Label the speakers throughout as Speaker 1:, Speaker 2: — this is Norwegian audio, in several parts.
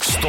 Speaker 1: Stå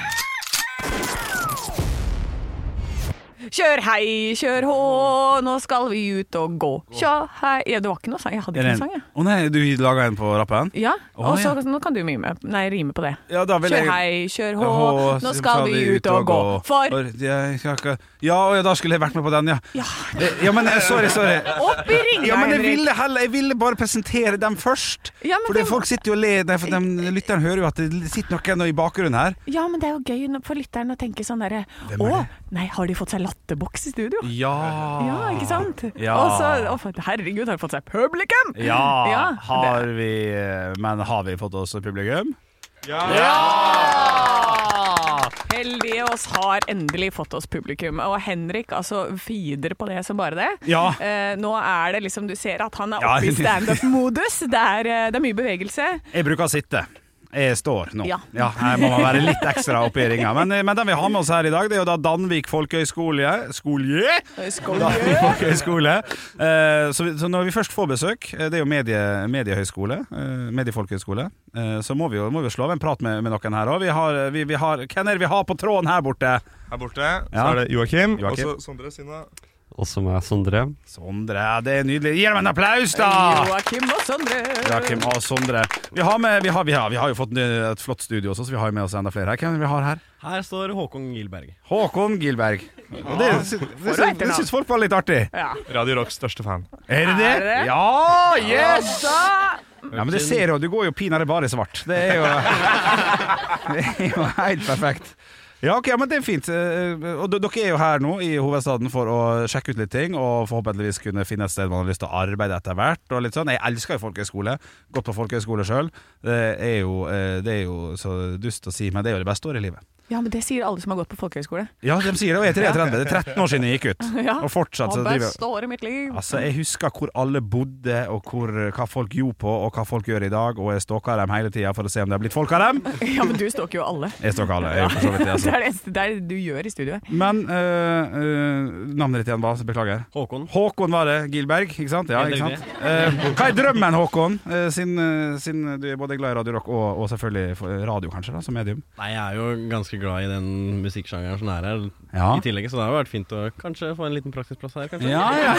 Speaker 2: Kjør hei, kjør hå, nå skal vi ut og gå. Tja, hei ja, Det var ikke noe sang. Jeg hadde
Speaker 3: Er
Speaker 2: ikke noe
Speaker 3: det en-
Speaker 2: sang, jeg.
Speaker 3: Å nei, du laga en på rappen?
Speaker 2: Ja,
Speaker 3: Å,
Speaker 2: og så
Speaker 3: ja.
Speaker 2: Nå kan du mime, nei, rime på det.
Speaker 3: Ja, da vil
Speaker 2: Kjør
Speaker 3: jeg-
Speaker 2: hei, kjør hå,
Speaker 3: Hå,
Speaker 2: nå
Speaker 3: så
Speaker 2: skal vi ut og gå. For
Speaker 3: jeg skal ikke- Ja, å ja, da skulle jeg vært med på den, ja.
Speaker 2: Ja,
Speaker 3: Det- ja men eh, sorry, sorry.
Speaker 2: opp i ringa,
Speaker 3: Ja, men jeg
Speaker 2: Henrik.
Speaker 3: ville, heller, jeg ville bare presentere dem først.
Speaker 2: Ja, men
Speaker 3: Fordi
Speaker 2: det-
Speaker 3: folk sitter jo og ler. Nei, for de lytterne hører jo at det sitter noen i bakgrunnen her.
Speaker 2: Ja, men det er jo gøy nå- for lytteren å tenke sånn derre
Speaker 3: Hvem er
Speaker 2: Å,
Speaker 3: det?
Speaker 2: nei, har de fått seg latterboks i studio?
Speaker 3: Ja.
Speaker 2: Ja, ikke sant?
Speaker 3: Ja.
Speaker 2: Og så, å, for- herregud, har de fått seg publikum?
Speaker 3: Ja,
Speaker 2: Ja,
Speaker 3: har vi eh, Men har vi fått oss publikum?
Speaker 2: Heldige oss har endelig fått oss publikum. Og Henrik altså feeder på det som bare det.
Speaker 3: Ja.
Speaker 2: Eh, nå er det liksom, du ser at han er
Speaker 3: Ja.
Speaker 2: oppe i standup-modus. Det, er, eh, det er mye bevegelse.
Speaker 3: Jeg bruker å sitte. Jeg står nå.
Speaker 2: Ja.
Speaker 3: her må man være litt ekstra oppe i ringa. Men, eh, men den vi har med oss her i dag, det er jo da Danvik folkehøgskole Skolje?
Speaker 2: Skål.
Speaker 3: Danvik folkehøgskole. Eh, så, vi- så når vi først får besøk, eh, det er jo medie, mediehøgskole, eh, mediefolkehøgskole, eh, så må vi jo, må vi jo slå av en prat med, med noen her òg. Vi har, vi, vi har, hvem er det vi har på tråden her borte?
Speaker 4: Her borte så
Speaker 3: Ja.
Speaker 4: er det Joakim, og
Speaker 3: Joakim.
Speaker 4: så Sondre Sinna.
Speaker 5: Også meg, Sondre.
Speaker 3: Sondre, det er nydelig. Gi dem en applaus, da!
Speaker 2: Joakim og Sondre.
Speaker 3: Joakim og Sondre. Vi har, med, vi, har, vi, har, vi har jo fått eh, et flott studio også, så vi har jo med oss enda flere her. Hvem er det vi har her?
Speaker 5: Her står Håkon Gilberg.
Speaker 3: Håkon Gilberg. Og det, det, det, det, det syns folk var litt artig.
Speaker 2: Ja.
Speaker 4: Radio Rocks største fan.
Speaker 3: Er det
Speaker 2: Er
Speaker 3: det?
Speaker 2: det?
Speaker 3: Ja! Yes!
Speaker 2: Da,
Speaker 3: Ja, men det ser jo, du går jo pinadø bare i svart. Det er jo Det er jo helt perfekt. Ja, ok, men det er fint. Eh, Og d- dere er jo her nå i hovedstaden for å sjekke ut litt ting, og forhåpentligvis kunne finne et sted man har lyst til å arbeide etter hvert. Og litt sånn. Jeg elsker jo folkehøyskole. Gått på folkehøyskole sjøl. Det, er jo- eh, det er jo så dust å si, men det er jo det beste året i livet.
Speaker 2: ja, men det sier alle som har gått på folkehøyskole.
Speaker 3: Ja, de sier det, og jeg er 33. Det er 13 år siden jeg gikk ut.
Speaker 2: Ja.
Speaker 3: Og fortsatt så
Speaker 2: Og
Speaker 3: driver jeg
Speaker 2: beste året i mitt liv.
Speaker 3: Altså, Jeg husker hvor alle bodde, og hvor, eh, hva folk gjorde på, og hva folk gjør i dag. Og jeg stalker dem hele tida for å se om det har blitt folk av dem.
Speaker 2: Ja, men du stalker jo alle.
Speaker 3: Jeg stalker alle. Jeg, gjør for så vidt, det,
Speaker 2: Det
Speaker 3: altså.
Speaker 2: er det, eneste- det er det du gjør i studio.
Speaker 3: Men øh, øh, navnet ditt igjen, hva? Beklager.
Speaker 5: Håkon.
Speaker 3: Håkon var det. Gilberg, ikke sant? Ja,
Speaker 5: Helt
Speaker 3: ikke sant? Eh, hva er drømmen, Håkon? Eh, sin, eh, sin, du er både glad i Radio Rock og, og selvfølgelig for- eh, radio, kanskje, da, som medium.
Speaker 5: Nei, jeg er jo ganske glad i den musikksjangeren som er her.
Speaker 3: Ja.
Speaker 5: I tillegg, så det har jo vært fint å kanskje få en liten praksisplass her, kanskje.
Speaker 3: Ja, ja.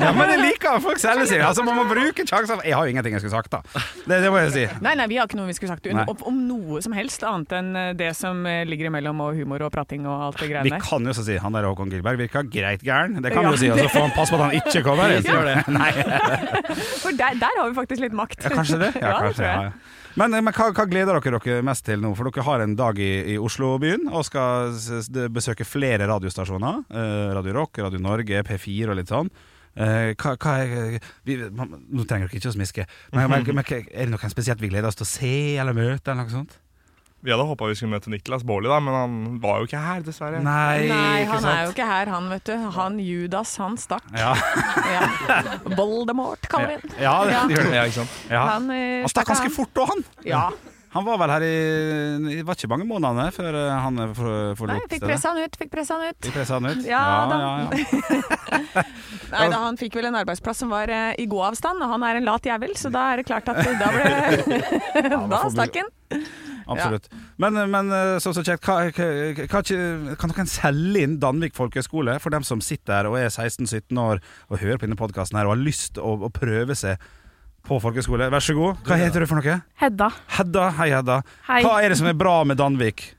Speaker 3: ja, men jeg liker at folk selger seg. Altså, man må bruke sjanser. Jeg har jo ingenting jeg skulle sagt, da. Det, det må jeg si.
Speaker 2: Nei, nei, vi har ikke noe vi skulle sagt
Speaker 3: Nei.
Speaker 2: om, om noe som helst, annet enn eh, det som eh, ligger imellom og humor og prating og alt det
Speaker 3: Vi
Speaker 2: greiene der.
Speaker 3: kan jo så si han der Håkon Gilberg virka greit gæren. Det kan
Speaker 2: Ja.
Speaker 3: vi jo si. Og så får han passe på at han ikke kommer.
Speaker 5: Jeg tror det.
Speaker 3: Nei,
Speaker 2: For der, der har vi faktisk litt makt.
Speaker 3: ja, kanskje det. Ja,
Speaker 2: det
Speaker 3: kanskje,
Speaker 2: tror
Speaker 3: ja,
Speaker 2: jeg.
Speaker 3: ja. Men, eh, men hva, hva gleder dere dere mest til nå? For dere har en dag i, i Oslo-byen og skal s- s- besøke flere radiostasjoner. Eh, Radio Rock, Radio Norge, P4 og litt sånn. Eh, hva, hva er, vi, man, nå trenger dere ikke å smiske. Men, men, men hva- er det noen spesielt vi gleder oss til å se eller møte? eller noe sånt?
Speaker 4: Vi hadde håpa vi skulle møte Niklas Baarli, da, men han var jo ikke her, dessverre.
Speaker 3: Nei,
Speaker 2: Nei,
Speaker 3: ikke
Speaker 2: han
Speaker 3: sant?
Speaker 2: er jo ikke her, han, vet du. Han Judas, han stakk.
Speaker 3: Ja.
Speaker 2: Ja. Voldemort, kaller vi ham.
Speaker 3: Ja, det,
Speaker 2: Ja.
Speaker 3: det gjør det.
Speaker 4: Ja, ikke sant?
Speaker 3: Ja.
Speaker 2: Han, eh,
Speaker 3: Han stakk ganske fort, og han.
Speaker 2: Ja.
Speaker 3: Han var vel her i Det var ikke mange månedene før eh, han for-
Speaker 2: Nei,
Speaker 3: forlot
Speaker 2: fikk pressa han ut, fikk pressa han ut.
Speaker 3: Vi pressa han ut?
Speaker 2: Ja, da.
Speaker 3: ja.
Speaker 2: Nei, da, han fikk vel en arbeidsplass som var eh, i god avstand, og han er en lat jævel, så da er det klart at eh, da ble Da
Speaker 3: får vi-
Speaker 2: stakk han.
Speaker 3: Absolutt. Men, men eh, så, så kjekt. Hva, hva, hva, kan dere selge inn Danvik folkehøgskole for dem som sitter her og er 16-17 år og hører på denne podkasten og har lyst å, å prøve seg på folkehøgskole? Vær så god. Hva heter du for noe?
Speaker 6: Hedda.
Speaker 3: Hedda. Hei, Hedda.
Speaker 6: Hei.
Speaker 3: Hva er det som er bra med Danvik?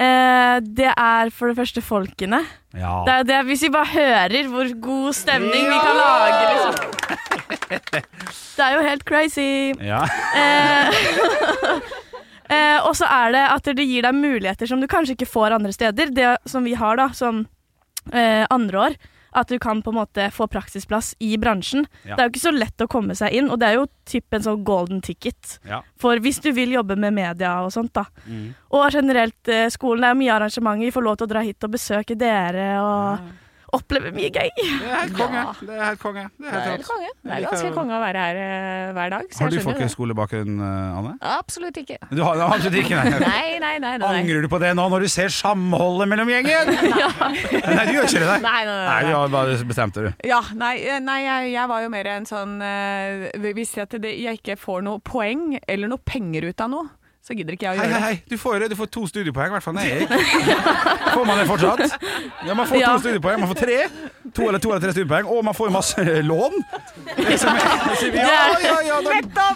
Speaker 6: Eh, det er for det første folkene.
Speaker 3: Ja.
Speaker 6: Det er jo det, hvis vi bare hører hvor god stemning vi kan lage, liksom. Det er jo helt crazy.
Speaker 3: ja.
Speaker 6: Eh, eh, og så er det at det gir deg muligheter som du kanskje ikke får andre steder. Det som vi har da, som eh, andre år. At du kan på en måte få praksisplass i bransjen.
Speaker 3: Ja.
Speaker 6: Det er jo ikke så lett å komme seg inn, og det er jo typ en sånn golden ticket.
Speaker 3: Ja.
Speaker 6: For hvis du vil jobbe med media og sånt, da.
Speaker 3: Mm.
Speaker 6: Og generelt, eh, skolen det er mye arrangementer. Vi får lov til å dra hit og besøke dere og oppleve mye gøy.
Speaker 3: Det er helt konge. Det er helt konge. Det er
Speaker 2: Det er
Speaker 3: helt
Speaker 2: helt
Speaker 3: rått.
Speaker 2: konge. Det er ganske konge å være her eh, hver dag. så
Speaker 3: Har du
Speaker 2: jeg skjønner jo det.
Speaker 3: folkehøgskolebakgrunn, eh, Anne?
Speaker 2: Absolutt ikke.
Speaker 3: Du har har absolutt ikke, nei.
Speaker 2: Nei, nei, nei. nei, nei.
Speaker 3: Angrer du på det nå når du ser samholdet mellom gjengen? Nei, du gjør ikke det. Nei,
Speaker 2: Nei, nei, nei,
Speaker 3: du
Speaker 2: nei.
Speaker 3: har bare bestemt det, du.
Speaker 2: Ja, nei, eh, nei jeg, jeg var jo mer en sånn eh, Hvis jeg, til det, jeg ikke får noe poeng eller noe penger ut av noe, så gidder ikke jeg å
Speaker 3: Hei,
Speaker 2: gjøre
Speaker 3: hei,
Speaker 2: det.
Speaker 3: hei, du får jo det. Du får to studiepoeng, i hvert fall. Nei, jeg. Får man det fortsatt? Ja, man får
Speaker 6: Ja.
Speaker 3: to studiepoeng. Man får tre. To eller to eller tre studiepoeng. Og man får jo masse lån. Liksom, ja, ja, ja, da,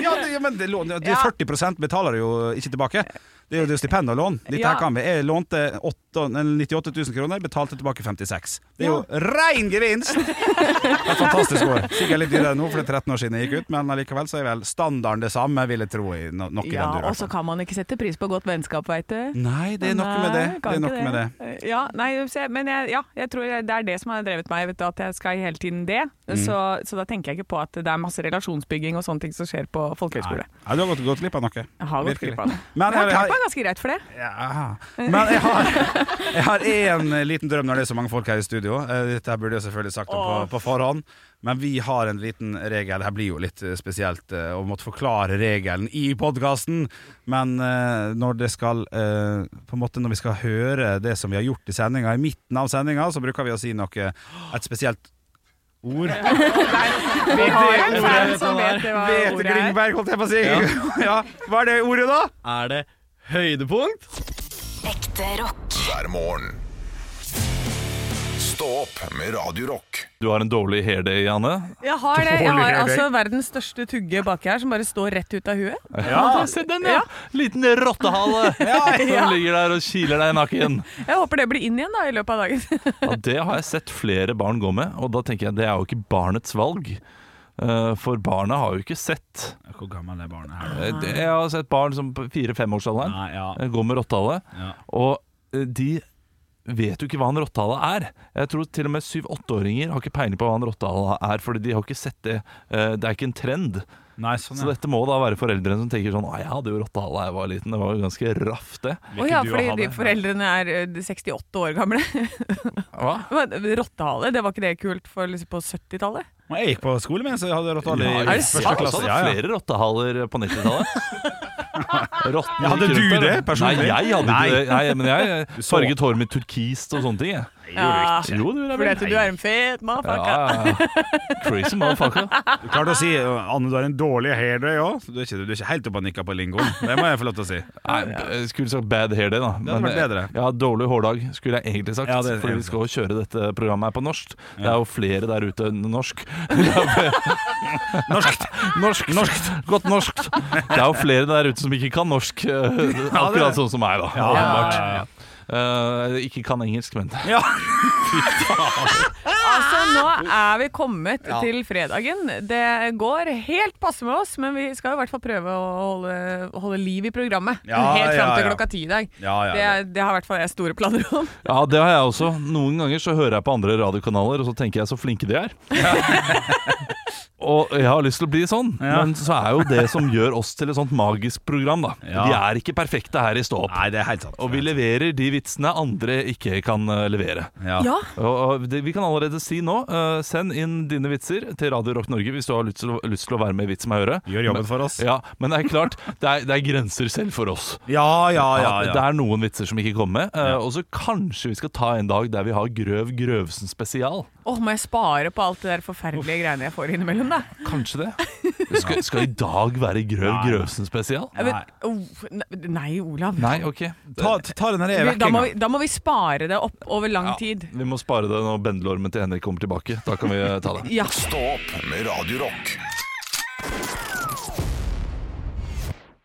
Speaker 3: ja, det, ja, men det, lån, det,
Speaker 2: Ja.
Speaker 3: 40 betaler du jo ikke tilbake. Det er jo det er stipend og lån. Dette
Speaker 2: Ja.
Speaker 3: her kan vi. Jeg lånte åtte- eller 98 000 kroner, betalte tilbake 56. Det er jo rein gevinst! Det er et fantastisk år. Sikkert litt dyrere nå, for det er 13 år siden jeg gikk ut, men allikevel så er vel standarden det samme, vil jeg tro. i no- Nok i
Speaker 2: Ja,
Speaker 3: den duren.
Speaker 2: og så kan man ikke sette pris på godt vennskap, veit du.
Speaker 3: Nei, det er noe med det.
Speaker 2: Nei, kan
Speaker 3: Det er
Speaker 2: ikke
Speaker 3: noe med det.
Speaker 2: Ja, nei, så jeg- men jeg, ja, jeg tror jeg- det er det som har drevet meg, vet du, at jeg skal hele tiden det.
Speaker 3: Mm.
Speaker 2: Så, så da tenker jeg ikke på at det er masse relasjonsbygging og sånne ting som skjer på folkehøyskole.
Speaker 3: Nei, du har gått, gått glipp av noe.
Speaker 2: Jeg har gått
Speaker 3: Virkelig.
Speaker 2: glipp av det.
Speaker 3: Men
Speaker 2: Men jeg har
Speaker 3: jeg,
Speaker 2: klart
Speaker 3: har,
Speaker 2: meg ganske greit for det.
Speaker 3: ja. Men jeg har Jeg har en liten drøm når det er så mange folk her i studio. Eh, Dette her burde jeg selvfølgelig sagt om på, på forhånd, men vi har en liten regel. Det her blir jo litt eh, spesielt eh, å måtte forklare regelen i podkasten, men eh, når det skal eh, På en måte når vi skal høre det som vi har gjort i sendinga, i midten av sendinga, så bruker vi å si noe Et spesielt ord.
Speaker 2: Vi har en
Speaker 3: ordet
Speaker 2: fan
Speaker 5: vet
Speaker 2: som
Speaker 5: han er.
Speaker 2: vet hva
Speaker 3: Bete
Speaker 2: ordet er.
Speaker 3: Grindberg, holdt jeg på å si. Ja. Hva er det ordet, da?
Speaker 5: Er det høydepunkt?
Speaker 7: Ekte rock.
Speaker 1: hver morgen. Stå opp med Radio Rock.
Speaker 4: Du har en dårlig hairday, Janne.
Speaker 2: Jeg har det. Jeg har
Speaker 3: Dårlig
Speaker 2: altså verdens største tugge baki her, som bare står rett ut av huet.
Speaker 4: Ja.
Speaker 2: Se den, ja.
Speaker 4: Liten rottehale som ligger der og kiler deg i nakken.
Speaker 2: Jeg håper det blir inn igjen da i løpet av dagen.
Speaker 4: Ja, det har jeg sett flere barn gå med, og da tenker jeg det er jo ikke barnets valg. Eh, For barna har jo ikke sett.
Speaker 3: Hvor gammel er barnet her?
Speaker 4: Eh, det- Jeg har sett barn som på fire-femårsalderen
Speaker 3: Nei, ja.
Speaker 4: eh, gå med rottehale,
Speaker 3: Ja.
Speaker 4: og eh, de vet jo ikke hva en rottehale er. Jeg tror til og med syv-åtteåringer har ikke peiling på hva en rottehale er, fordi de har ikke sett det. Eh, Det er ikke en trend.
Speaker 3: Nei, sånn
Speaker 4: Så dette må da være foreldrene som tenker sånn Å, jeg hadde jo rottehale da jeg var liten, det var jo ganske raft, det.
Speaker 2: Å ja, fordi de foreldrene er eh, 68 år gamle.
Speaker 4: Hva?
Speaker 2: Men Rottehale, det var ikke det kult for liksom, på 70-tallet?
Speaker 3: Jeg gikk på skole med en som hadde rottehale
Speaker 4: Ja,
Speaker 3: i
Speaker 4: er det sant?
Speaker 3: første klasse.
Speaker 4: Så
Speaker 3: Ja, ja.
Speaker 4: hadde flere rottehaler på 90-tallet. Rotten
Speaker 3: Ja, hadde
Speaker 4: gikk rundt
Speaker 3: du
Speaker 4: der.
Speaker 3: det, personlig?
Speaker 4: Nei, jeg hadde
Speaker 3: Nei.
Speaker 4: ikke det. Nei, men jeg
Speaker 3: så.
Speaker 4: farget håret mitt turkist og sånne ting. Jeg.
Speaker 2: Ja,
Speaker 4: Jo, du, det er
Speaker 2: fordi
Speaker 4: vel.
Speaker 2: at du er en fet motherfucker.
Speaker 4: Ja, ja, ja. Crazy motherfucker.
Speaker 3: Du klarte å si uh, Anne, du har en dårlig hairday òg. Du, er ikke- du er ikke helt oppe og nikker på lingoen. Det må jeg få lov til å si.
Speaker 4: Nei, jeg skulle sagt bad hair day, da. eh,
Speaker 3: hadde vært bedre.
Speaker 4: Ja, dårlig hårdag, skulle jeg egentlig sagt.
Speaker 3: Ja, det-
Speaker 4: fordi vi skal jo kjøre dette programmet her på norsk. Det er jo flere der ute enn norsk.
Speaker 3: Norskt!
Speaker 4: Norsk, norskt, Godt norskt. Det er jo flere der ute som ikke kan norsk, eh, akkurat sånn som meg, da. åpenbart. Eh, ikke kan engelsk, men
Speaker 3: Ja.
Speaker 2: Altså, nå er vi kommet til fredagen. Det går helt passe med oss, men vi skal i hvert fall prøve å holde, holde liv i programmet.
Speaker 3: Ja,
Speaker 2: helt fram
Speaker 3: ja,
Speaker 2: til
Speaker 3: ja.
Speaker 2: klokka ti i dag.
Speaker 3: Ja, ja,
Speaker 2: Det, er- det har i hvert fall jeg store planer om.
Speaker 4: Ja, det har jeg også. Noen ganger så hører jeg på andre radiokanaler, og så tenker jeg så flinke de er. og jeg har lyst til å bli sånn,
Speaker 3: Ja.
Speaker 4: men så er jo det som gjør oss til et sånt magisk program, da.
Speaker 3: Ja.
Speaker 4: Vi er ikke perfekte her i Stå opp.
Speaker 3: Nei, det er helt sant.
Speaker 4: Og vi leverer de vitsene andre ikke kan eh, levere.
Speaker 3: Ja.
Speaker 6: Ja.
Speaker 4: Og, og det, vi kan allerede si nå, eh, send inn dine vitser til Radio Rock Norge hvis du har lyst til, å- lyst til å være med i Vits meg høre.
Speaker 3: Gjør jobben for oss.
Speaker 4: Ja, men det er klart, det er, det er grenser selv for oss.
Speaker 3: Ja, ja, ja.
Speaker 4: At Det
Speaker 3: ja.
Speaker 4: er noen vitser som ikke kommer med. eh, Og så kanskje vi skal ta en dag der vi har Grøv Grøvsen spesial.
Speaker 2: Åh, må jeg spare på alt det der forferdelige greiene jeg får innimellom, da?
Speaker 4: Kanskje det. Skal, skal i dag være Grøv Grøvsen spesial?
Speaker 2: Jeg vet- Oh, ne- nei, Olav.
Speaker 4: Nei, OK.
Speaker 3: Ta, ta den der
Speaker 2: Vi, da, må
Speaker 3: vekkinga.
Speaker 2: vi, da må vi spare det opp over lang
Speaker 4: Ja,
Speaker 2: tid.
Speaker 4: Vi må spare det når bendelormen til Henrik kommer tilbake. Da kan vi eh, ta det.
Speaker 2: Ja.
Speaker 1: Stå opp med Radio Rock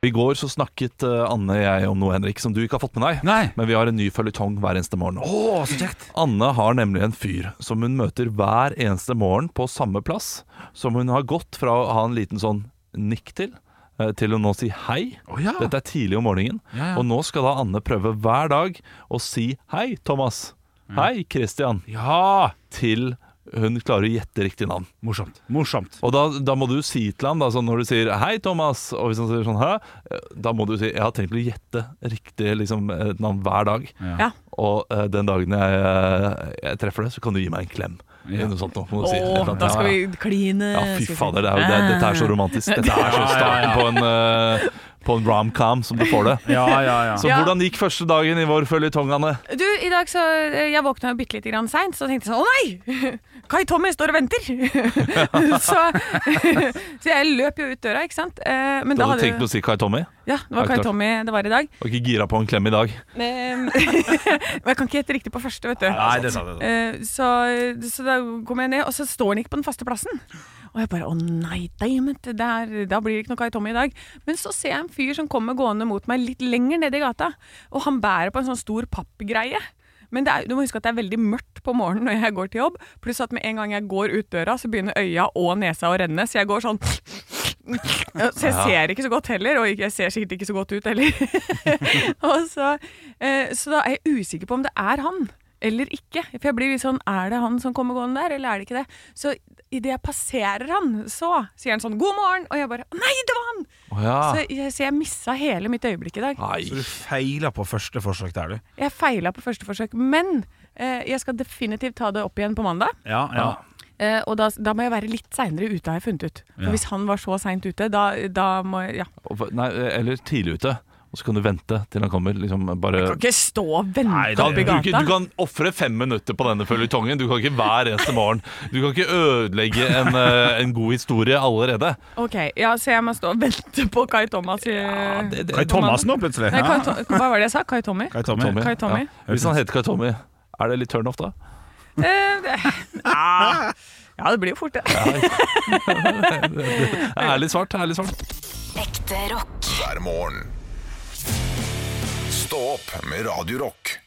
Speaker 4: I går så snakket eh, Anne og jeg om noe, Henrik, som du ikke har fått med deg.
Speaker 3: Nei.
Speaker 4: Men vi har en ny føljetong hver eneste morgen.
Speaker 3: Å, så kjekt.
Speaker 4: Anne har nemlig en fyr som hun møter hver eneste morgen på samme plass, som hun har gått fra å ha en liten sånn nikk til, eh, til å nå si hei.
Speaker 3: Å, ja.
Speaker 4: Dette er tidlig om morgenen.
Speaker 3: Ja, ja.
Speaker 4: Og nå skal da Anne prøve hver dag å si hei, Thomas. Hei, Christian.
Speaker 3: Ja.
Speaker 4: Til hun klarer å gjette riktig navn.
Speaker 3: Morsomt. Morsomt.
Speaker 4: Og da, da må du si til ham, da, sånn når du sier 'hei, Thomas', og hvis han sier sånn 'hæ', eh, da må du si 'jeg har tenkt å gjette riktig liksom, eh, navn hver dag'.
Speaker 2: Ja.
Speaker 4: Og eh, den dagen jeg, eh, jeg treffer deg, så kan du gi meg en klem.
Speaker 3: Ja.
Speaker 4: Eller noe sånt nå, må du si. Eller
Speaker 2: Åh,
Speaker 4: noe.
Speaker 2: da skal
Speaker 4: Ja, ja.
Speaker 2: vi Ah. kline.
Speaker 4: Ja, fy
Speaker 2: skal vi si.
Speaker 4: fader. Det er, jo- det, dette er så romantisk. Dette er så starten på en, eh, på en romcom som du får det.
Speaker 3: Ja, ja, ja.
Speaker 4: Så
Speaker 2: Ja.
Speaker 4: hvordan gikk første dagen i vår føljetong, Anne?
Speaker 2: Du, i dag så Jeg våkna jo bitte lite grann seint, så tenkte jeg sånn Å nei! Kai Tommy står og venter! så, så jeg løp jo ut døra, ikke sant. Eh, Men
Speaker 4: Du
Speaker 2: da
Speaker 4: hadde
Speaker 2: hadde
Speaker 4: tenkt på å si Kai Tommy?
Speaker 2: Ja, det var
Speaker 4: Ja,
Speaker 2: Kai
Speaker 4: klart.
Speaker 2: Tommy det var i dag.
Speaker 4: Og ikke gira på en klem i dag?
Speaker 2: Men, men jeg kan ikke gjette riktig på første, vet du.
Speaker 3: Nei, det sa du.
Speaker 2: Eh, Så, så da kom jeg ned, og så står han ikke på den faste plassen. Og jeg bare å nei, dammit, det er- da blir det ikke noe Kai Tommy i dag. Men så ser jeg en fyr som kommer gående mot meg litt lenger nede i gata, og han bærer på en sånn stor pappgreie. Men det er, du må huske at det er veldig mørkt på morgenen når jeg går til jobb, pluss at med en gang jeg går ut døra, så begynner øya og nesa å renne, så jeg går sånn Så jeg ser ikke så godt heller, og jeg ser sikkert ikke så godt ut heller. og så, eh, så da er jeg usikker på om det er han eller ikke. For jeg blir litt sånn Er det han som kommer gående der, eller er det ikke det? Så idet jeg passerer han, så sier han sånn 'god morgen', og jeg bare 'nei, det var han'!
Speaker 4: Å ja.
Speaker 2: Så, jeg, så jeg missa hele mitt øyeblikk i dag.
Speaker 3: Så
Speaker 4: Nei.
Speaker 3: du feila på første forsøk der, du.
Speaker 2: Jeg feila på første forsøk. Men eh, jeg skal definitivt ta det opp igjen på mandag.
Speaker 3: Ja, ja.
Speaker 2: Eh, og da, da må jeg være litt seinere ute, har jeg funnet ut. For
Speaker 3: Ja.
Speaker 2: hvis han var så seint ute, da, da må jeg Ja.
Speaker 4: Og- Nei, eller tidlig ute. Og så kan du vente til han kommer. Liksom bare
Speaker 2: Kan ikke stå og
Speaker 3: Nei,
Speaker 2: vente
Speaker 3: da-
Speaker 4: kan
Speaker 2: oppe i
Speaker 4: du,
Speaker 2: gata.
Speaker 4: ikke, du kan ofre fem minutter på denne føljetongen. Du kan ikke hver eneste morgen Du kan ikke ødelegge en, eh, en god historie allerede.
Speaker 2: Ok, ja, så jeg må stå og vente på Kai Thomas i ja,
Speaker 4: Det- det-
Speaker 3: Kai Thomas nå, plutselig.
Speaker 2: Nei, Kai,
Speaker 3: Ja.
Speaker 2: To- hva var det jeg sa? Kai Tommy?
Speaker 3: Kai Tommy.
Speaker 2: Kai Tommy.
Speaker 4: Ja. Hvis han heter Kai Tommy, er det litt turn off da?
Speaker 2: Eh, det- ja. ja, det blir jo fort det.
Speaker 4: Ærlig svart. ærlig svart
Speaker 7: Ekte rock.
Speaker 1: hver morgen. Stå opp med Radio Rock.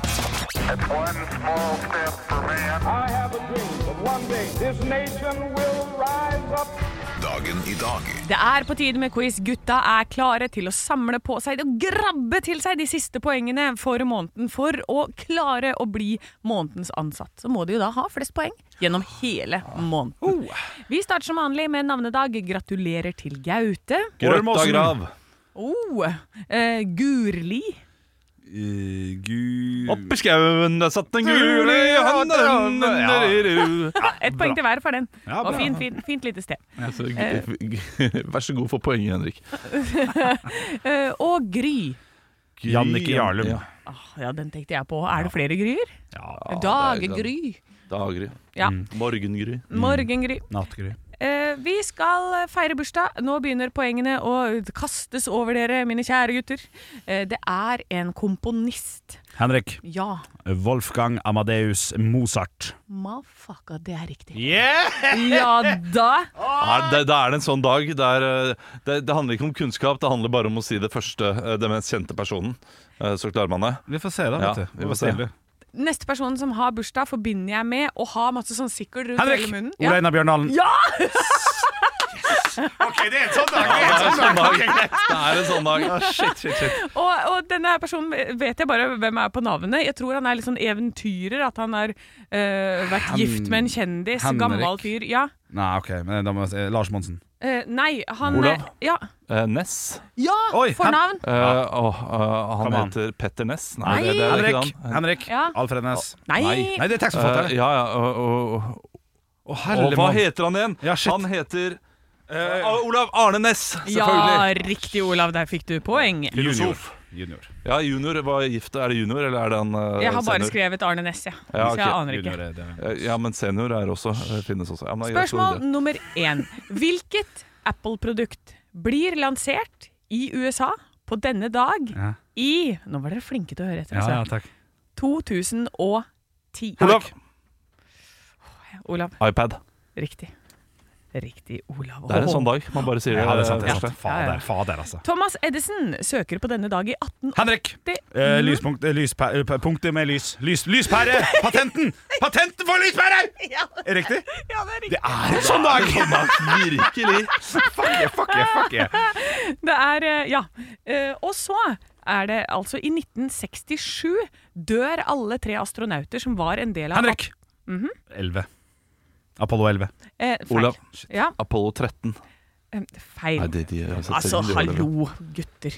Speaker 8: One small step for man.
Speaker 9: I have a dream that one day this nation will rise up.
Speaker 1: Dagen i dag
Speaker 2: Det er på tide med quiz. Gutta er klare til å samle på seg og grabbe til seg de siste poengene for måneden. For å klare å bli månedens ansatt, så må de jo da ha flest poeng gjennom hele måneden. Vi starter som vanlig med navnedag. Gratulerer til Gaute.
Speaker 3: Ormåsen.
Speaker 4: Grøttagrav.
Speaker 2: Oh, eh, Gurli.
Speaker 3: Eh,
Speaker 4: Opp i skauen der satt en gule hannen
Speaker 2: Ja, Ett poeng til hver for den.
Speaker 3: Ja,
Speaker 2: og
Speaker 3: bra.
Speaker 2: fint, fint, fint lite sted.
Speaker 4: Altså, g- g- Vær så god for poenget, Henrik.
Speaker 2: Eh, og Gry.
Speaker 3: Jannicke Jarlum.
Speaker 4: Ja.
Speaker 2: Ah, ja, den tenkte jeg på. Er det flere gryer?
Speaker 4: Ja,
Speaker 2: Daggry.
Speaker 4: Daggry.
Speaker 2: Ja.
Speaker 4: Mm. Morgengry.
Speaker 3: Mm.
Speaker 2: Morgengry.
Speaker 3: Nattgry.
Speaker 2: Eh, vi skal feire bursdag. Nå begynner poengene å kastes over dere, mine kjære gutter. Eh, det er en komponist.
Speaker 3: Henrik.
Speaker 2: Ja,
Speaker 3: Wolfgang Amadeus Mozart.
Speaker 2: motherfucker, det er riktig. Ja da.
Speaker 4: Er, det, det er en sånn dag der eh, det, det handler ikke om kunnskap, det handler bare om å si det første, eh, det mest kjente personen. Eh, Så klarer man det.
Speaker 3: Vi får se, da.
Speaker 4: vet du.
Speaker 3: vi får se.
Speaker 2: Neste person som har bursdag, forbinder jeg med å ha masse sånn sikkel rundt
Speaker 3: Henrik!
Speaker 2: hele munnen.
Speaker 3: Ole
Speaker 2: Ja.
Speaker 3: Einar Bjørndalen.
Speaker 8: Okay, that's all done.
Speaker 4: Det er en sånn dag. Det er en sånn dag.
Speaker 2: Og, og denne her personen vet jeg bare hvem er på navnet. Jeg tror han er litt sånn eventyrer. At han har eh, vært
Speaker 3: Hen-
Speaker 2: gift med en kjendis.
Speaker 3: Henrik.
Speaker 2: Gammel fyr. Ja.
Speaker 3: Nei, ok, men da må jeg si Lars Monsen.
Speaker 2: Eh, nei, han
Speaker 4: Olav?
Speaker 2: eh, Ja,
Speaker 4: Eh, Ness.
Speaker 2: ja
Speaker 3: Oi,
Speaker 2: fornavn!
Speaker 4: Eh, åh, eh, han
Speaker 3: Come on.
Speaker 4: heter Petter Ness.
Speaker 2: Nei.
Speaker 4: det, det er ikke
Speaker 3: Henrik.
Speaker 4: han. Eh,
Speaker 3: Henrik.
Speaker 2: Ja.
Speaker 3: Alfred Næss.
Speaker 2: Nei.
Speaker 4: Nei.
Speaker 3: Nei, det er tekstforfatteren.
Speaker 4: ja, ja, og, og, og,
Speaker 3: Å,
Speaker 4: og hva
Speaker 3: mann.
Speaker 4: heter han igjen?
Speaker 3: Ja, shit.
Speaker 4: han heter eh, Olav Arne Ness,
Speaker 2: Ja,
Speaker 4: selvfølgelig.
Speaker 2: riktig, Olav. Der fikk du poeng.
Speaker 3: Junior.
Speaker 4: Filosof.
Speaker 3: Junior.
Speaker 4: Ja, junior var gift. Er det junior, eller er det han eh,
Speaker 2: Jeg har bare
Speaker 4: senior?
Speaker 2: skrevet Arne Næss, jeg.
Speaker 4: Ja,
Speaker 2: Så jeg
Speaker 4: ok.
Speaker 2: aner ikke.
Speaker 3: Junior er det.
Speaker 4: Eh, Ja, men senior er også, eh, finnes også. Ja, men det er greit, så er
Speaker 2: Spørsmål
Speaker 4: det det.
Speaker 2: nummer én. Hvilket Apple-produkt blir lansert i USA på denne dag
Speaker 3: Ja.
Speaker 2: i Nå var dere flinke til å høre etter.
Speaker 3: Ja,
Speaker 2: altså.
Speaker 3: ja, takk.
Speaker 2: 2010.
Speaker 4: Olav.
Speaker 2: Olav.
Speaker 4: iPad.
Speaker 2: Riktig. Riktig, Olav.
Speaker 4: Det er en sånn dag. Man bare sier
Speaker 3: Ja, det er sant. Det
Speaker 4: eh,
Speaker 3: er sant.
Speaker 4: første.
Speaker 2: Ja, ja.
Speaker 3: Fader, fader, altså.
Speaker 2: Thomas Edison søker på denne dag i 1880.
Speaker 3: Henrik! Eh,
Speaker 2: Mhm.
Speaker 3: lyspunkt, eh, lyspæ- eh, punktet med lys. lys lyspære! Patenten! Patenten for lyspære! Er det riktig?
Speaker 2: Ja, det er
Speaker 3: Det
Speaker 2: riktig.
Speaker 3: er en sånn dag!
Speaker 4: Virkelig!
Speaker 3: Fuck yeah, fuck yeah, fuck yeah.
Speaker 2: Det er, eh, ja. Eh, Og så er det altså i 1967 dør alle tre astronauter som var en del av
Speaker 3: Henrik!
Speaker 2: Mhm.
Speaker 3: 11. Apollo 11.
Speaker 2: Eh, feil.
Speaker 4: Olav.
Speaker 2: Ja,
Speaker 4: Apollo 13.
Speaker 2: eh, feil.
Speaker 4: Nei, det, de, altså,
Speaker 2: Altså,
Speaker 4: selvfølgelig gjør det det.
Speaker 2: hallo, gutter.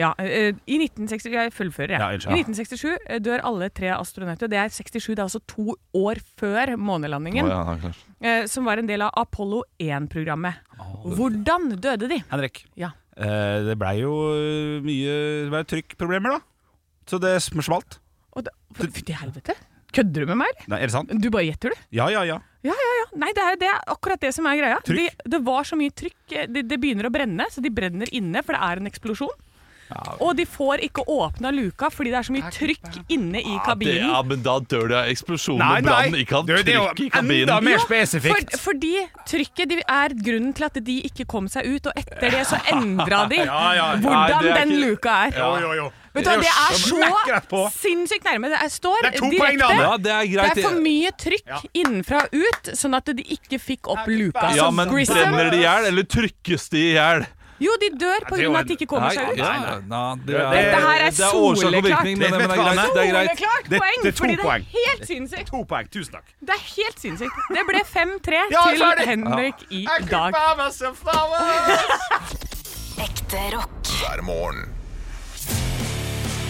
Speaker 2: Ja, eh, I 1960, jeg fullfører, jeg.
Speaker 3: Ja, unnskyld.
Speaker 2: I 1967 eh, dør alle tre astronauter. Det er 67, det er altså to år før
Speaker 4: Å,
Speaker 2: månelandingen,
Speaker 4: ja, ja, klart.
Speaker 2: eh, som var en del av Apollo 1-programmet. Hvordan døde de?
Speaker 3: Henrik.
Speaker 2: Ja.
Speaker 3: Eh, det blei jo eh, mye det ble trykkproblemer, da. Så det sm- smalt.
Speaker 2: Og det, Fy til helvete. Kødder du med meg, eller?
Speaker 3: Nei, er det sant?
Speaker 2: Du bare gjetter, du.
Speaker 3: Ja, ja, ja.
Speaker 2: Ja, ja, ja. Nei, det er, det er akkurat det som er greia. De,
Speaker 3: Trykk.
Speaker 2: det var så mye trykk. eh, Det, det begynner å brenne, så de brenner inne, for det er en eksplosjon. Og de får ikke åpna luka fordi det er så mye trykk inne i kabinen.
Speaker 4: Ja, men da dør det av eksplosjon og brann. Ikke av
Speaker 3: Du, det er jo
Speaker 4: trykk i kabinen.
Speaker 3: Enda
Speaker 2: Ja,
Speaker 3: mer spesifikt.
Speaker 2: For, fordi trykket de er grunnen til at de ikke kom seg ut, og etter det så endra de
Speaker 3: Ja, ja, ja.
Speaker 4: Nei,
Speaker 2: hvordan
Speaker 4: det er
Speaker 2: den
Speaker 4: ikke-
Speaker 2: luka er.
Speaker 3: Jo, jo, jo.
Speaker 2: Vet du hva, Det er
Speaker 3: smekk rett
Speaker 2: så
Speaker 3: på.
Speaker 2: sinnssykt nærme. Det er, står
Speaker 3: Det er to poeng,
Speaker 2: direkte.
Speaker 3: da.
Speaker 4: Ja, det er greit.
Speaker 2: Det er for mye trykk innenfra og ut, sånn at de ikke fikk opp luka.
Speaker 4: ja,
Speaker 2: Så
Speaker 4: men
Speaker 2: Grissom-
Speaker 4: brenner de i hjel, eller trykkes de i hjel?
Speaker 2: Jo, de dør
Speaker 3: det er jo
Speaker 2: pga. at de ikke kommer
Speaker 4: Nei,
Speaker 2: seg ut.
Speaker 4: ja, nei, det er,
Speaker 3: Dette
Speaker 2: her er
Speaker 4: det er årsak og
Speaker 2: soleklart.
Speaker 4: virkning, men,
Speaker 3: Vet
Speaker 4: men det
Speaker 3: du hva,
Speaker 4: er greit. Det er greit.
Speaker 2: Soleklart
Speaker 3: Det-
Speaker 2: poeng,
Speaker 3: det er to
Speaker 2: fordi det
Speaker 3: poeng.
Speaker 2: er helt sinnssykt.
Speaker 3: To poeng. Tusen takk.
Speaker 2: Det er helt sinnssykt. Det ble 5-3
Speaker 3: Ja,
Speaker 2: til
Speaker 3: ferdig.
Speaker 2: Henrik i dag.
Speaker 7: Ekte rock.
Speaker 1: hver morgen.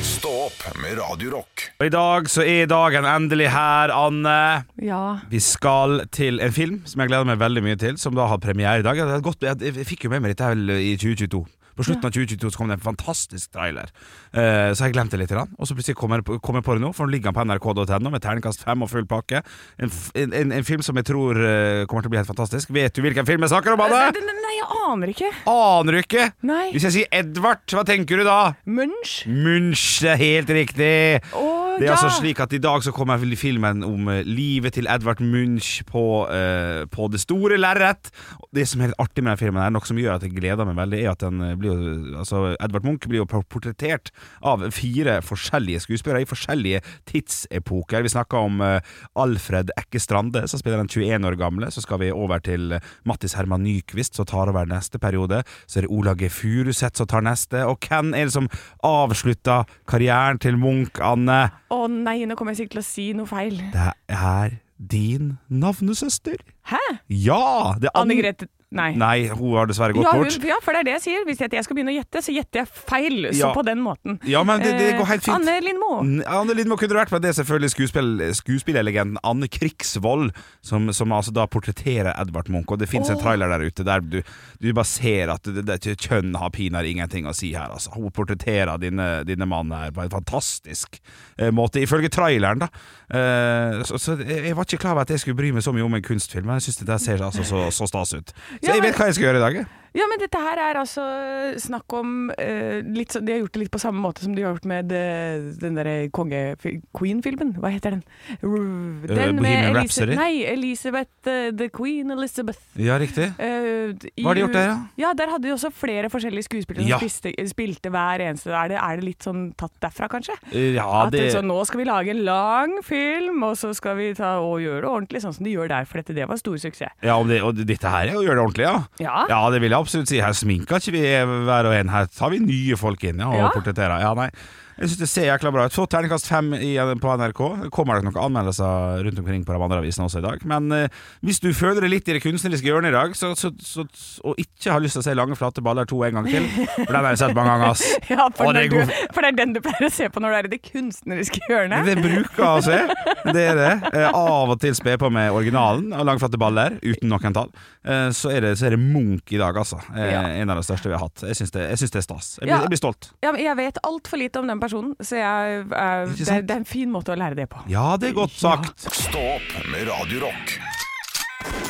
Speaker 1: Stå opp med Radio Rock.
Speaker 3: Og I dag så er dagen endelig her, Anne.
Speaker 2: Ja.
Speaker 3: Vi skal til en film som jeg gleder meg veldig mye til, som da har premiere i dag. Jeg, hadde gått- jeg, jeg fikk jo med meg dette her eh, i 2022. På slutten av 2022 så kom det en fantastisk trailer, Eh, så jeg glemte litt. grann. Og så plutselig kom jeg, på- kom jeg på det nå, for nå ligger han på nrk.no med terningkast fem og full pakke. En, f- en, en, en film som jeg tror eh, kommer til å bli helt fantastisk. Vet du hvilken film jeg snakker om,
Speaker 2: Nei,
Speaker 3: Anne?
Speaker 2: nei, nei, jeg aner ikke.
Speaker 3: Aner du ikke?
Speaker 2: Nei.
Speaker 3: Hvis jeg sier Edvard, hva tenker du da?
Speaker 2: Munch?
Speaker 3: Munch, det er helt riktig.
Speaker 2: Å,
Speaker 3: Det er
Speaker 2: ja.
Speaker 3: altså slik at I dag så kommer filmen om eh, livet til Edvard Munch på, eh, på det store lerret. Og Det som er litt artig med den filmen, her, noe som gjør at jeg gleder meg veldig, er at den eh, blir jo, altså, Edvard Munch blir jo por- portrettert av fire forskjellige skuespillere i forskjellige tidsepoker. Vi snakker om eh, Alfred Ekke Strande, som spiller den 21 år gamle. Så skal vi over til eh, Mattis Herman Nyquist, som tar over neste periode. Så er det Ola G. Furuseth som tar neste. Og hvem er det som avslutter karrieren til Munch, Anne?
Speaker 2: Å nei, nå kommer jeg sikkert til å si noe feil.
Speaker 3: Det er din navnesøster.
Speaker 2: Hæ?
Speaker 3: Ja! Det er
Speaker 2: Anne Grete Nei.
Speaker 3: Nei, hun har dessverre gått
Speaker 2: Ja, hun,
Speaker 3: bort.
Speaker 2: ja, for det er det jeg sier. Hvis jeg, jeg skal begynne å gjette, så gjetter jeg feil. Så
Speaker 3: Ja.
Speaker 2: på den måten.
Speaker 3: Ja, men det, det
Speaker 2: Eh,
Speaker 3: går helt fint.
Speaker 2: Anne Lindmo.
Speaker 3: N- Anne Lindmo kunne det vært, men det er selvfølgelig skuespill, skuespillerlegenden Anne Krigsvold som, som altså da portretterer Edvard Munch. Og det fins en trailer der ute der du, du bare ser at det, det, kjønn har pinadø ingenting å si her. Altså. Hun portretterer dine, dine mann her på en fantastisk eh, måte, ifølge traileren, da. Eh, så, så jeg var ikke klar over at jeg skulle bry meg så mye om en kunstfilm, men jeg syns det der ser altså så, så stas ut. Så
Speaker 2: Ja,
Speaker 3: jeg
Speaker 2: men-
Speaker 3: vet hva jeg skal gjøre i dag. jeg.
Speaker 2: Ja, men dette her er altså snakk om eh, litt, så- De har gjort det litt på samme måte som de har gjort med eh, den derre konge-queen-filmen. Hva heter den? R-
Speaker 3: Eh, Bohemian Rhapsody?
Speaker 2: Nei, Elizabeth eh, The Queen Elizabeth.
Speaker 3: Ja, riktig.
Speaker 2: eh, i-
Speaker 3: Hva har de gjort der, da?
Speaker 2: Ja, Der hadde de også flere forskjellige skuespillere
Speaker 3: Ja.
Speaker 2: som spiste, spilte hver eneste. Er det, er det litt sånn tatt derfra, kanskje?
Speaker 3: Ja,
Speaker 2: At det... sånn, nå skal vi lage en lang film, og så skal vi ta og gjøre det ordentlig sånn som de gjør der, for dette det var stor suksess.
Speaker 3: Ja, om det, og dette her er å gjøre det ordentlig, ja.
Speaker 2: Ja.
Speaker 3: det vil jeg absolutt si. Her sminker ikke vi hver og en. Her tar vi nye folk inn ja, og
Speaker 2: Ja.
Speaker 3: portretterer. Ja, nei. Jeg synes det ser jækla bra ut. Så terningkast fem i- på NRK. Kommer det nok anmeldelser rundt omkring på de andre avisene også i dag. Men eh, hvis du føler deg litt i det kunstneriske hjørnet i dag, så, så, så, og ikke har lyst til å se Lange flate baller to en gang til, for den har jeg sett mange ganger, ass.
Speaker 2: Ja, for,
Speaker 3: Å, det
Speaker 2: når
Speaker 3: er
Speaker 2: du,
Speaker 3: god-
Speaker 2: for det er den du pleier å se på når du er i det kunstneriske hjørnet.
Speaker 3: Det bruker jeg å se. Det er det. Eh, av og til spe på med originalen og langflate baller, uten noen tall. Eh, så, er det, så er det Munch i dag, altså. Eh,
Speaker 2: Ja.
Speaker 3: En av de største vi har hatt. Jeg syns det, jeg syns det er stas. Jeg blir,
Speaker 2: Ja.
Speaker 3: jeg blir stolt.
Speaker 2: Ja, men jeg vet altfor lite om den personen, så jeg, eh,
Speaker 3: Ikke
Speaker 2: det,
Speaker 3: sant?
Speaker 2: er, det er en fin måte å lære det på.
Speaker 3: Ja, det er godt sagt.
Speaker 1: Stå opp med Radio Rock.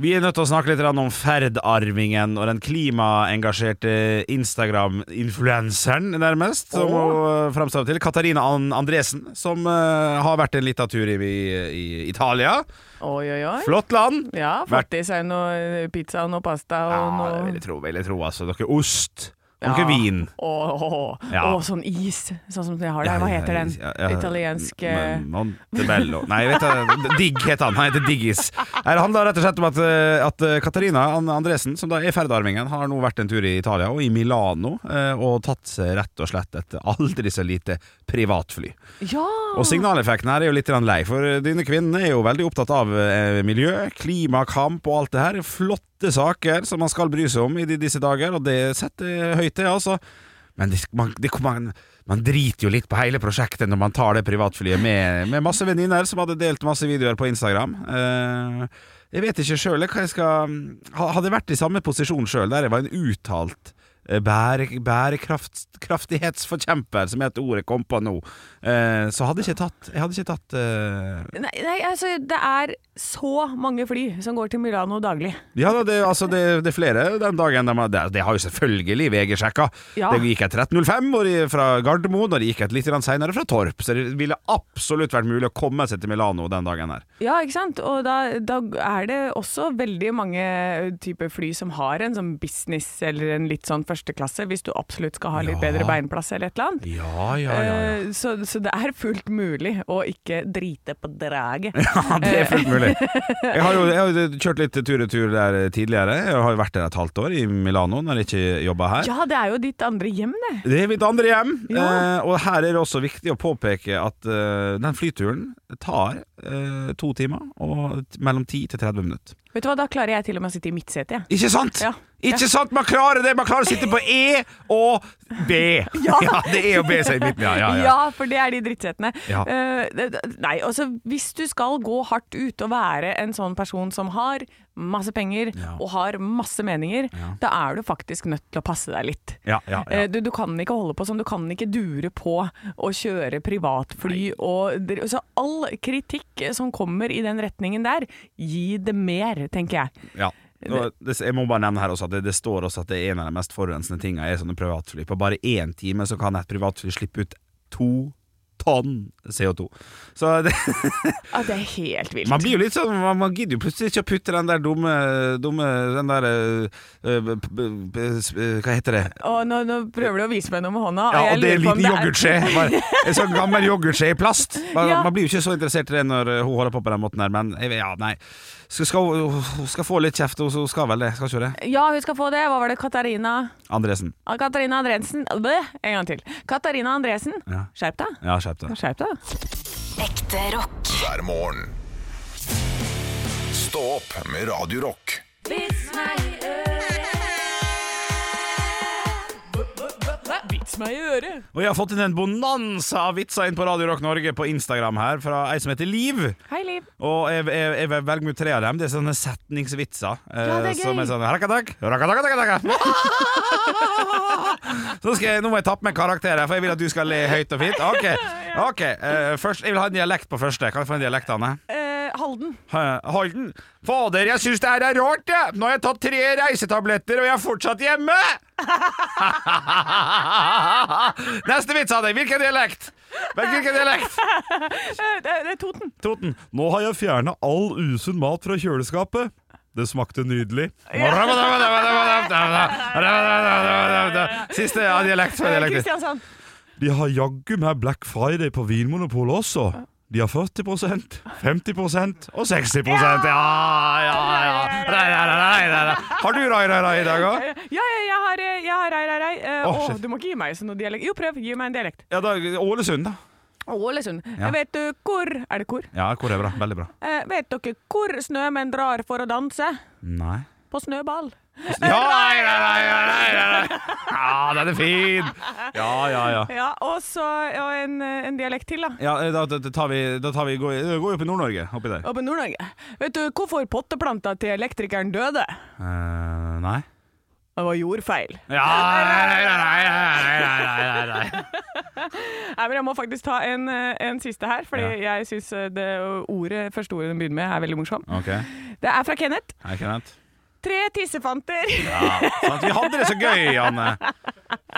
Speaker 3: Vi er nødt til å snakke litt grann om ferdarvingen og den klimaengasjerte Instagram-influenseren, nærmest, som hun eh, framstår til. Katarina An- Andresen, som eh, har vært en liten tur i, i Italia.
Speaker 2: Oi, oi, oi.
Speaker 3: Flott land.
Speaker 2: Ja, fått i seg noe pizza og noe pasta og
Speaker 3: Ja, det vil
Speaker 2: noe
Speaker 3: jeg tro. Vil jeg tro altså. Dere ost, dere vin.
Speaker 2: Åh,
Speaker 3: Ja.
Speaker 2: Og sånn is, sånn som de har der. Hva heter den?
Speaker 3: Ja, ja, ja.
Speaker 2: Italiensk eh,
Speaker 3: M- Montebello Nei, vet du, Digg heter han. Han heter Diggis. Nei, Det handler rett og slett om at, eh, at eh, Katarina An- Andresen, som da er ferdarmingen, har nå vært en tur i Italia og i Milano eh, og tatt seg rett og slett et aldri så lite privatfly.
Speaker 2: Ja!
Speaker 3: Og signaleffekten her er jo litt grann lei, for dine kvinner er jo veldig opptatt av eh, miljø, klimakamp og alt det her. Flotte saker som man skal bry seg om i de- disse dager, og det setter høyt det, altså. Men det, man, det, man, man driter jo litt på hele prosjektet når man tar det privatflyet med, med masse venninner som hadde delt masse videoer på Instagram. Eh, jeg vet ikke sjøl hva jeg skal ha- Hadde jeg vært i samme posisjon sjøl, der jeg var en uttalt eh, bære, bærekraftighetsforkjemper, som er et ord jeg kom på nå, eh, så hadde jeg ikke tatt Jeg hadde ikke tatt eh,
Speaker 2: Nei, nei, altså, det er så mange fly som går til Milano daglig.
Speaker 3: Ja da, det, altså, det, det er flere den dagen de har Det, det har jo selvfølgelig VG sjekka.
Speaker 2: Ja.
Speaker 3: Det gikk et 13.05 hvor de- fra Gardermoen, og det gikk et litt grann senere fra Torp. Så det ville absolutt vært mulig å komme seg til Milano den dagen her.
Speaker 2: Ja, ikke sant? Og da, da er det også veldig mange typer fly som har en sånn business eller en litt sånn førsteklasse, hvis du absolutt skal ha litt
Speaker 3: Ja.
Speaker 2: bedre beinplass eller et eller annet.
Speaker 3: Ja, ja, ja. ja.
Speaker 2: Eh, Så, så det er fullt mulig å ikke drite på draget.
Speaker 3: Ja, det er fullt mulig. Jeg har jo, jeg har jo kjørt litt tur-retur der tidligere. Jeg har jo vært der et halvt år, i Milano, når jeg ikke jobba her.
Speaker 2: Ja, det er jo ditt andre hjem, det.
Speaker 3: Det er mitt andre hjem,
Speaker 2: Ja.
Speaker 3: eh, og her er det også viktig å påpeke at eh, den flyturen tar eh, to timer og t- mellom 10 til 30 minutter.
Speaker 2: Vet du hva, da klarer jeg til og med å sitte i midtsetet, jeg.
Speaker 3: Ikke sant?
Speaker 2: Ja.
Speaker 3: Ikke sant? Man klarer det! Man klarer å sitte på E og B. Ja, det er jo B seg i midten, ja. ja,
Speaker 2: Ja,
Speaker 3: ja.
Speaker 2: for det er de drittsetene.
Speaker 3: Ja.
Speaker 2: Eh, det- det- nei, altså hvis du skal gå hardt ut og være en sånn person som har masse penger
Speaker 3: Ja.
Speaker 2: og har masse meninger, da er du faktisk nødt til å passe deg litt.
Speaker 3: Ja, ja, ja.
Speaker 2: Eh, Du, du kan ikke holde på sånn, du kan ikke dure på å kjøre privatfly og dr- Så all kritikk som kommer i den retningen der, gi det mer, tenker jeg.
Speaker 3: Ja. Og det, jeg må bare nevne her også at det, det står også at det er en av de mest forurensende tingene er sånne privatfly. På bare én time så kan et privatfly slippe ut to tonn CO2. Så det,
Speaker 2: Ja, Ah, det er helt vilt.
Speaker 3: man blir jo litt sånn Man, man gidder jo plutselig ikke å putte den der dumme, dumme Den der øh, øh, b- b- b- eh, Hva heter det?
Speaker 2: Og nå, nå prøver du å vise meg noe med hånda.
Speaker 3: Ja,
Speaker 2: Ah, jeg
Speaker 3: og det er en
Speaker 2: lurer på om
Speaker 3: liten
Speaker 2: det er-
Speaker 3: yoghurtskje. Bare En sånn gammel yoghurtskje i plast. Man,
Speaker 2: Ja.
Speaker 3: man blir jo ikke så interessert i det når øh, hun holder på på den måten her, men jeg- ja, nei. Skal, skal, hun skal få litt kjeft, hun skal vel det? Skal ikke hun det?
Speaker 2: Ja, hun skal få det. Hva var det? Katarina
Speaker 3: Andresen.
Speaker 2: Ah, Katarina Andresen Bæ, En gang til. Katarina Andresen.
Speaker 3: Ja.
Speaker 2: Skjerp deg.
Speaker 3: Ja, skjerp deg.
Speaker 2: Skjerp deg.
Speaker 7: Ekte rock.
Speaker 1: hver morgen. Stå opp med Radio Rock.
Speaker 2: Vits meg i øret.
Speaker 3: Og jeg har fått inn en bonanza av vitser inn på Radio Rock Norge på Instagram her, fra ei som heter Liv.
Speaker 2: Hei, Liv.
Speaker 3: Og jeg, jeg, jeg velger meg ut tre av dem. Det er sånne setningsvitser. eh,
Speaker 2: Ja, det er gøy.
Speaker 3: Som er sånn «Rakadak, rakadakadakadaka». Så skal jeg, Nå må jeg tappe meg karakterer, for jeg vil at du skal le høyt og fint. Ok, ok eh, først, Jeg vil ha en dialekt på første. Kan jeg få en dialekt, Anne?
Speaker 2: Eh, Halden.
Speaker 3: Eh, Holden. Fader, jeg syns det her er rart, jeg. Nå har jeg tatt tre reisetabletter, og jeg er fortsatt hjemme! Neste vits, Anne. Hvilken dialekt? Velg hvilken dialekt.
Speaker 2: Eh, det, det er Toten.
Speaker 3: Toten. Nå har jeg fjerna all usunn mat fra kjøleskapet. Det smakte nydelig. Siste ja, dialekt.
Speaker 2: Eh,
Speaker 3: dialekt.
Speaker 2: Kristiansand.
Speaker 3: De har jaggu meg Black Friday på Vinmonopolet også. De har 40 50 og 60 Ja, ja, ja. Rei, rei, rei, rei, rei. Har du rai, rai, rai i dag òg?
Speaker 2: Eh, Ja, ja, jeg har, eh, jeg har rei, rei, rei. Eh,
Speaker 3: Åh,
Speaker 2: åh,
Speaker 3: shit.
Speaker 2: du må ikke gi meg sånn noe dialekt. Jo, prøv. Gi meg en dialekt.
Speaker 3: Ja, da, Ålesund, da.
Speaker 2: Ålesund.
Speaker 3: Ja.
Speaker 2: Vet du hvor Er det hvor?
Speaker 3: Ja, hvor er bra? Veldig bra.
Speaker 2: Eh, vet dere hvor snømenn drar for å danse?
Speaker 3: Nei.
Speaker 2: På snøball.
Speaker 3: Ja, rei, rei, rei, rei, rei, rei. ja den er fin! Ja, ja, ja.
Speaker 2: Ja, og så og en, eh, en dialekt til, da.
Speaker 3: Ja, eh, da, da, da tar vi, da tar vi går, går vi opp i Nord-Norge, oppi der.
Speaker 2: Oppe i Nord-Norge. Vet du hvorfor potteplanta til elektrikeren døde?
Speaker 3: Eh, nei.
Speaker 2: Det var jordfeil.
Speaker 3: Ja, nei, nei, nei, nei, nei, nei, nei, nei.
Speaker 2: Nei, men jeg må faktisk ta en, eh, en siste her, fordi jeg syns det ordet, første ordet den begynner med, er veldig morsom.
Speaker 3: Ok,
Speaker 2: Det er fra Kenneth.
Speaker 3: er ikke sant?
Speaker 2: Tre tissefanter.
Speaker 3: Sånn at vi hadde det så gøy, Anne.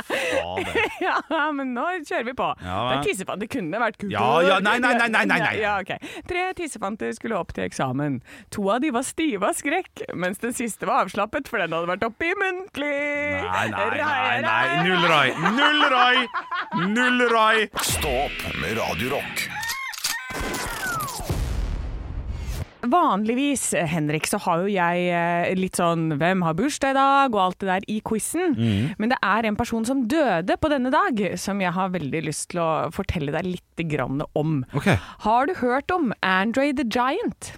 Speaker 3: Fader.
Speaker 2: Ja, men nå kjører vi på.
Speaker 3: Ja,
Speaker 2: det
Speaker 3: men-
Speaker 2: er tissefanter. Det kunne vært kuker.
Speaker 3: Ja, ja, nei, nei, nei, nei, nei, nei.
Speaker 2: Ja, ok. Tre tissefanter skulle opp til eksamen. To av de var stive av skrekk, mens den siste var avslappet, for den hadde vært oppe i muntlig.
Speaker 3: Nei, nei, nei,
Speaker 2: Rai,
Speaker 3: nei.
Speaker 2: rai,
Speaker 3: Null rai. Null rai. Null rai.
Speaker 1: Stå opp med Radio Rock.
Speaker 2: Vanligvis, eh, Henrik, så har jo jeg eh, litt sånn 'Hvem har bursdag i dag?' og alt det der i quizen. Men det er en person som døde på denne dag, som jeg har veldig lyst til å fortelle deg litt grann om.
Speaker 3: Ok.
Speaker 2: Har du hørt om Andre the Giant?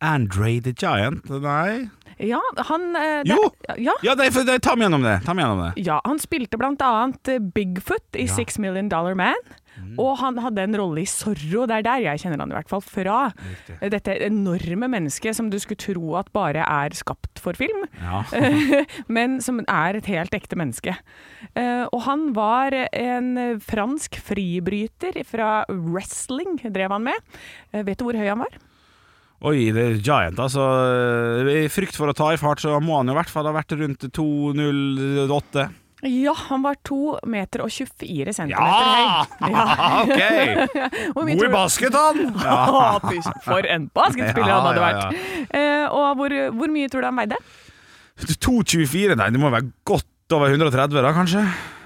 Speaker 3: Andre the Giant. Nei.
Speaker 2: Ja, han eh, det-
Speaker 3: Jo!
Speaker 2: Ja,
Speaker 3: Ja, nei, for, nei, ta meg gjennom det. Ta meg gjennom det.
Speaker 2: ja, han spilte blant annet eh, Bigfoot i Six Million Dollar Man. Og han hadde en rolle i Zorro, det er der jeg kjenner han i hvert fall fra. Eh, Dette enorme mennesket som du skulle tro at bare er skapt for film,
Speaker 3: Ja.
Speaker 2: men som er et helt ekte menneske. Eh, Og han var en eh, fransk fribryter fra wrestling, drev han med. Eh, Vet du hvor høy han var?
Speaker 3: Oi, det er Giant, altså. I frykt for å ta i fart, så må han jo i hvert fall ha vært rundt 2,08.
Speaker 2: Ja, han var 2 meter og 24 centimeter
Speaker 3: Ja!
Speaker 2: høy. Ja.
Speaker 3: OK!
Speaker 2: Hvor mye tror
Speaker 3: God i
Speaker 2: du-
Speaker 3: basket, han!
Speaker 2: Ja. Fy, For en basketspiller han hadde
Speaker 3: Ja, ja,
Speaker 2: vært! Eh, og hvor, hvor mye tror du han veide?
Speaker 3: 2,24, nei, det må være godt over 130 da, kanskje?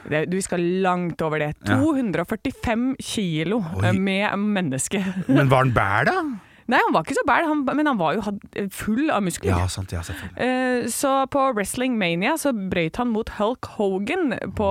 Speaker 2: Det, du skal langt over det.
Speaker 3: Ja.
Speaker 2: 245 kilo
Speaker 3: Oi.
Speaker 2: eh, med menneske.
Speaker 3: Men var han bær, da?
Speaker 2: Nei, han var ikke så bæl, han, men han var jo had- full av muskler.
Speaker 3: Ja, sant, ja, selvfølgelig.
Speaker 2: Eh, Så på Wrestling Mania så brøyt han mot Hulk Hogan på,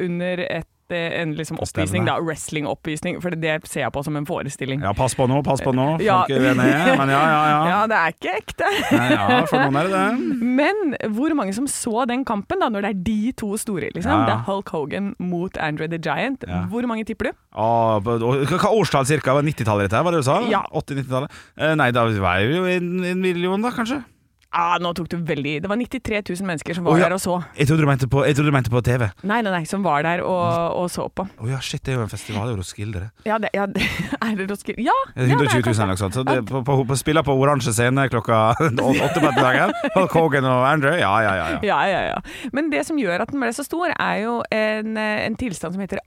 Speaker 2: under et, eh, en liksom oppvisning,
Speaker 3: Stemmer.
Speaker 2: da. Wrestling-oppvisning, for det ser jeg på som en forestilling.
Speaker 3: Ja, pass på nå, pass på nå.
Speaker 2: Ja.
Speaker 3: Folk er uenige, men ja, ja, ja.
Speaker 2: det er ikke ekte.
Speaker 3: Nei, ja, for noen er det det.
Speaker 2: Men hvor mange som så den kampen, da, når det er de to store? liksom?
Speaker 3: Ja, ja.
Speaker 2: Det er Hulk Hogan mot Andre the Giant.
Speaker 3: Ja.
Speaker 2: Hvor mange tipper du?
Speaker 3: Ah, hva hva årstall cirka? Var 90-tallet dette her, var det du sa?
Speaker 2: Ja.
Speaker 3: 80-90-tallet? Eh, nei, da var det jo en, en million da, kanskje?
Speaker 2: Ah, nå tok du veldig Det var 93 000 mennesker som var
Speaker 3: Å, ja.
Speaker 2: der og så.
Speaker 3: Jeg trodde du mente på, jeg trodde du mente på TV. Å
Speaker 2: Nei, nei, nei, som var der og, og så på.
Speaker 3: ja, shit, det er jo en festival, det er jo Roskilde det.
Speaker 2: Ja, det, ja, det, er det Roskilde? Ja!
Speaker 3: Det er
Speaker 2: ja, det er
Speaker 3: 120 000 eller noe sånt. Så det, på, på, på, spiller på oransje scene klokka åtte på ettermiddagen. Hulk Hogan og Andrew, ja, ja, ja. ja.
Speaker 2: Ja, ja, ja. Men det som gjør at den ble så stor, er jo en, eh, en tilstand som heter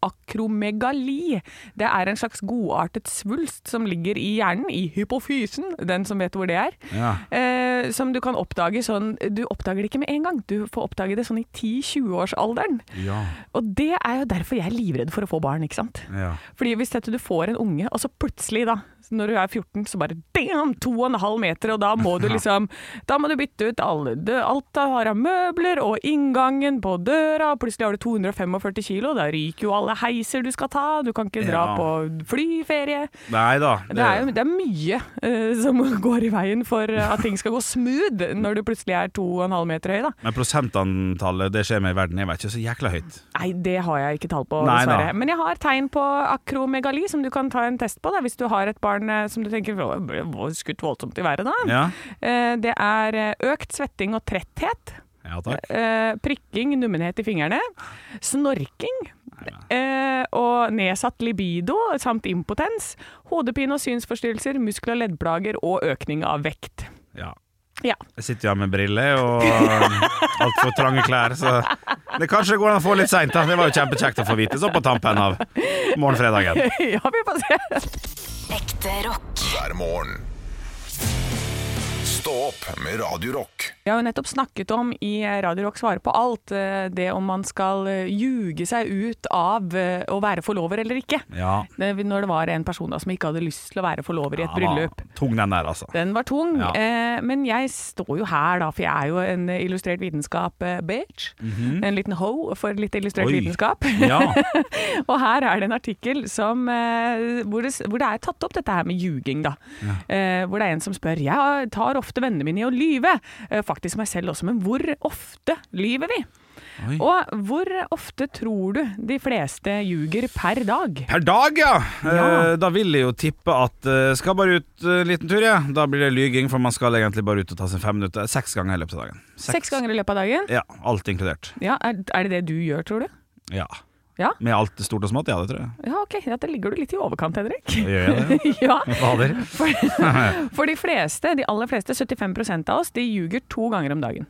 Speaker 2: akromegali. Det er en slags godartet svulst som ligger i hjernen, i hypofysen, den som vet hvor det er.
Speaker 3: Ja.
Speaker 2: Eh, som du kan oppdage sånn Du oppdager det ikke med en gang, du får oppdage det sånn i 10-20-årsalderen.
Speaker 3: Ja,
Speaker 2: Og det er jo derfor jeg er livredd for å få barn, ikke sant.
Speaker 3: ja.
Speaker 2: Fordi hvis dette, du får en unge, og så plutselig da, når du er 14, så bare damn, to og en halv meter, og da må du liksom, da må du bytte ut alle, dø- alt du har av møbler, og inngangen på døra, og plutselig har du 245 kilo, da ryker jo alle heiser du skal ta, du kan ikke dra
Speaker 3: Ja.
Speaker 2: på flyferie.
Speaker 3: Nei da.
Speaker 2: Det er, jo, det er mye eh, som går i veien for at ting skal gå smooth når du plutselig er to og en halv meter høy, da.
Speaker 3: Men prosentantallet det skjer med i verden, jeg vet ikke så jækla høyt.
Speaker 2: Nei, det har jeg ikke tall på,
Speaker 3: Nei da.
Speaker 2: dessverre. Men jeg har tegn på akromegali, som du kan ta en test på da, hvis du har et barn eh, som du tenker «Å, det ble skutt voldsomt i været. da.
Speaker 3: Ja,
Speaker 2: Eh, Det er eh, økt svetting og tretthet,
Speaker 3: ja takk.
Speaker 2: eh, prikking, nummenhet i fingrene, snorking eh, og nedsatt libido samt impotens, hodepine og synsforstyrrelser, muskel- og leddplager og økning av vekt.
Speaker 3: Ja.
Speaker 2: Ja.
Speaker 3: Jeg sitter jo her med briller og altfor trange klær, så det kanskje går an å få litt seint. Det var jo kjempekjekt å få vite så på tampen av morgenfredagen.
Speaker 2: ja, vi får se.
Speaker 7: Ekte rock.
Speaker 1: hver morgen. Stå opp med Radio Rock.
Speaker 2: Vi har jo nettopp snakket om i Radio Rock svarer på alt, eh, det om man skal eh, ljuge seg ut av eh, å være forlover eller ikke.
Speaker 3: Ja.
Speaker 2: Det, når det var en person da som ikke hadde lyst til å være forlover i et bryllup.
Speaker 3: Tung den der, altså.
Speaker 2: Den var tung,
Speaker 3: Ja.
Speaker 2: eh, men jeg står jo her da, for jeg er jo en illustrert vitenskap-bitch. En liten ho for litt illustrert
Speaker 3: Mhm. Oi.
Speaker 2: vitenskap.
Speaker 3: Ja.
Speaker 2: Og her er det en artikkel som, eh, hvor, det, hvor det er tatt opp dette her med ljuging. Da. Eh, hvor det er en som spør Jeg tar ofte vennene mine i å lyve. Eh, faktisk meg selv også, men hvor ofte lyver vi?
Speaker 3: Oi.
Speaker 2: Og hvor ofte tror du de fleste ljuger per dag?
Speaker 3: Per dag, ja.
Speaker 2: Ja.
Speaker 3: Eh, Da vil jeg jo tippe at eh, skal bare ut eh, en liten tur, ja. Da blir det lyging, for man skal egentlig bare ut og ta seg fem minutter. eh, Seks ganger i løpet av dagen.
Speaker 2: Seks ganger i løpet av dagen?
Speaker 3: Ja, alt inkludert.
Speaker 2: Ja, er, er det det du gjør, tror du?
Speaker 3: Ja.
Speaker 2: Ja.
Speaker 3: Med alt stort og smått, ja, det tror jeg.
Speaker 2: Ja, ok. Ja, der ligger du litt i overkant, Henrik.
Speaker 3: Gjør jeg det?
Speaker 2: ja,
Speaker 3: Fader.
Speaker 2: for, for de fleste, de aller fleste, 75 av oss, de ljuger to ganger om dagen.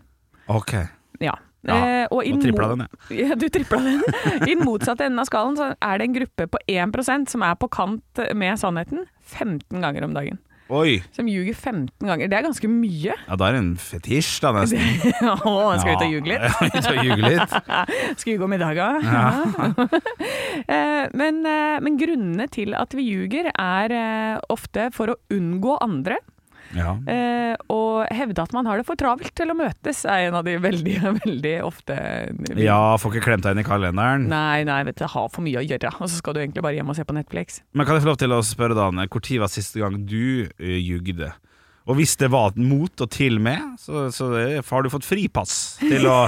Speaker 3: Ok.
Speaker 2: Ja.
Speaker 3: Ja,
Speaker 2: Eh, og i
Speaker 3: nå tripla
Speaker 2: mo-
Speaker 3: den,
Speaker 2: Ja, du tripla den. I den motsatte enden av skallen så er det en gruppe på 1 som er på kant med sannheten 15 ganger om dagen.
Speaker 3: Oi.
Speaker 2: Som ljuger 15 ganger. Det er ganske mye.
Speaker 3: Ja, da er det en fetisj, da, nesten.
Speaker 2: Å, jeg skal ut og ljuge litt.
Speaker 3: Ja, ut og ljuge litt.
Speaker 2: Skal vi gå middag av? Eh, men, eh, men grunnene til at vi ljuger er eh, ofte for å unngå andre.
Speaker 3: Ja.
Speaker 2: Eh, og hevde at man har det for travelt til å møtes, er en av de veldig, veldig ofte
Speaker 3: ja, får ikke klemt deg inn i kalenderen.
Speaker 2: Nei, nei, vet du, ha for mye å gjøre, og så skal du egentlig bare hjem og se på Netflix.
Speaker 3: Men kan jeg få lov til å spørre, da, Anne, hvor tid var siste gang du uh, eh, jugde? Og hvis det var mot og til med, så, så det- har du fått fripass til å,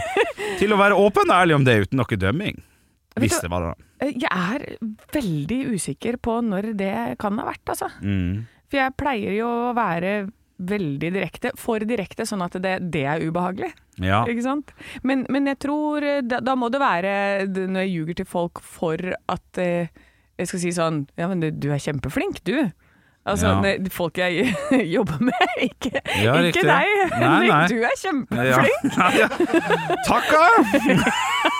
Speaker 3: til å være åpen og ærlig om det uten noe dømming.
Speaker 2: Vet
Speaker 3: Hvis
Speaker 2: du-
Speaker 3: det var det.
Speaker 2: Eh, Jeg er veldig usikker på når det kan ha vært, altså.
Speaker 3: Mm.
Speaker 2: For jeg pleier jo å være veldig direkte, for direkte, sånn at det, det er ubehagelig.
Speaker 3: Ja.
Speaker 2: Ikke sant? Men, men jeg tror eh, da, da må det være d- når jeg ljuger til folk for at eh, jeg skal si sånn Ja, men du, du er kjempeflink, du. Altså
Speaker 3: Ja.
Speaker 2: det- folk jeg jobber med, ikke,
Speaker 3: Ja,
Speaker 2: ikke
Speaker 3: riktig.
Speaker 2: deg.
Speaker 3: Nei,
Speaker 2: Henrik,
Speaker 3: nei.
Speaker 2: Du er
Speaker 3: Ja.
Speaker 2: kjempeflink.
Speaker 3: ja. Takk, da!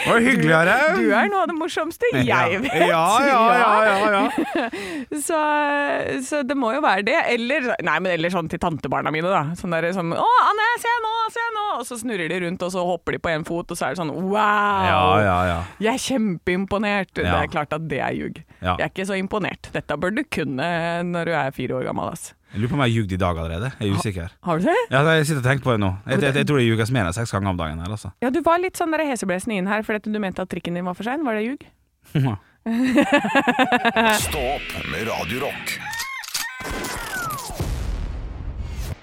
Speaker 3: Det var hyggelig av deg.
Speaker 2: Du er noe av det morsomste jeg vet.
Speaker 3: Ja, ja, ja, ja, ja.
Speaker 2: Så, så det må jo være det. Eller, nei, men eller sånn til tantebarna mine, da. Sånn der, sånn, 'Å, Anne, se nå, se nå!' Og så snurrer de rundt, og så hopper de på én fot, og så er det sånn 'wow'.
Speaker 3: ja, ja, ja.
Speaker 2: Jeg er kjempeimponert. Det
Speaker 3: Ja.
Speaker 2: er klart at det er ljug.
Speaker 3: Ja.
Speaker 2: Jeg er ikke så imponert. Dette bør du kunne når du er fire år gammel. Ass.
Speaker 3: Jeg lurer på om jeg har ljugd i dag allerede. Jeg er usikker.
Speaker 2: Har du det?
Speaker 3: Ja, jeg sitter og tenker på det nå. Jeg, jeg, jeg tror det ljuges mer enn seks ganger om dagen. her, altså.
Speaker 2: Ja, du var litt sånn der heseblesende inn her fordi at du mente at trikken din var for sein. Var det ljug?
Speaker 1: Stå opp med Radio Rock.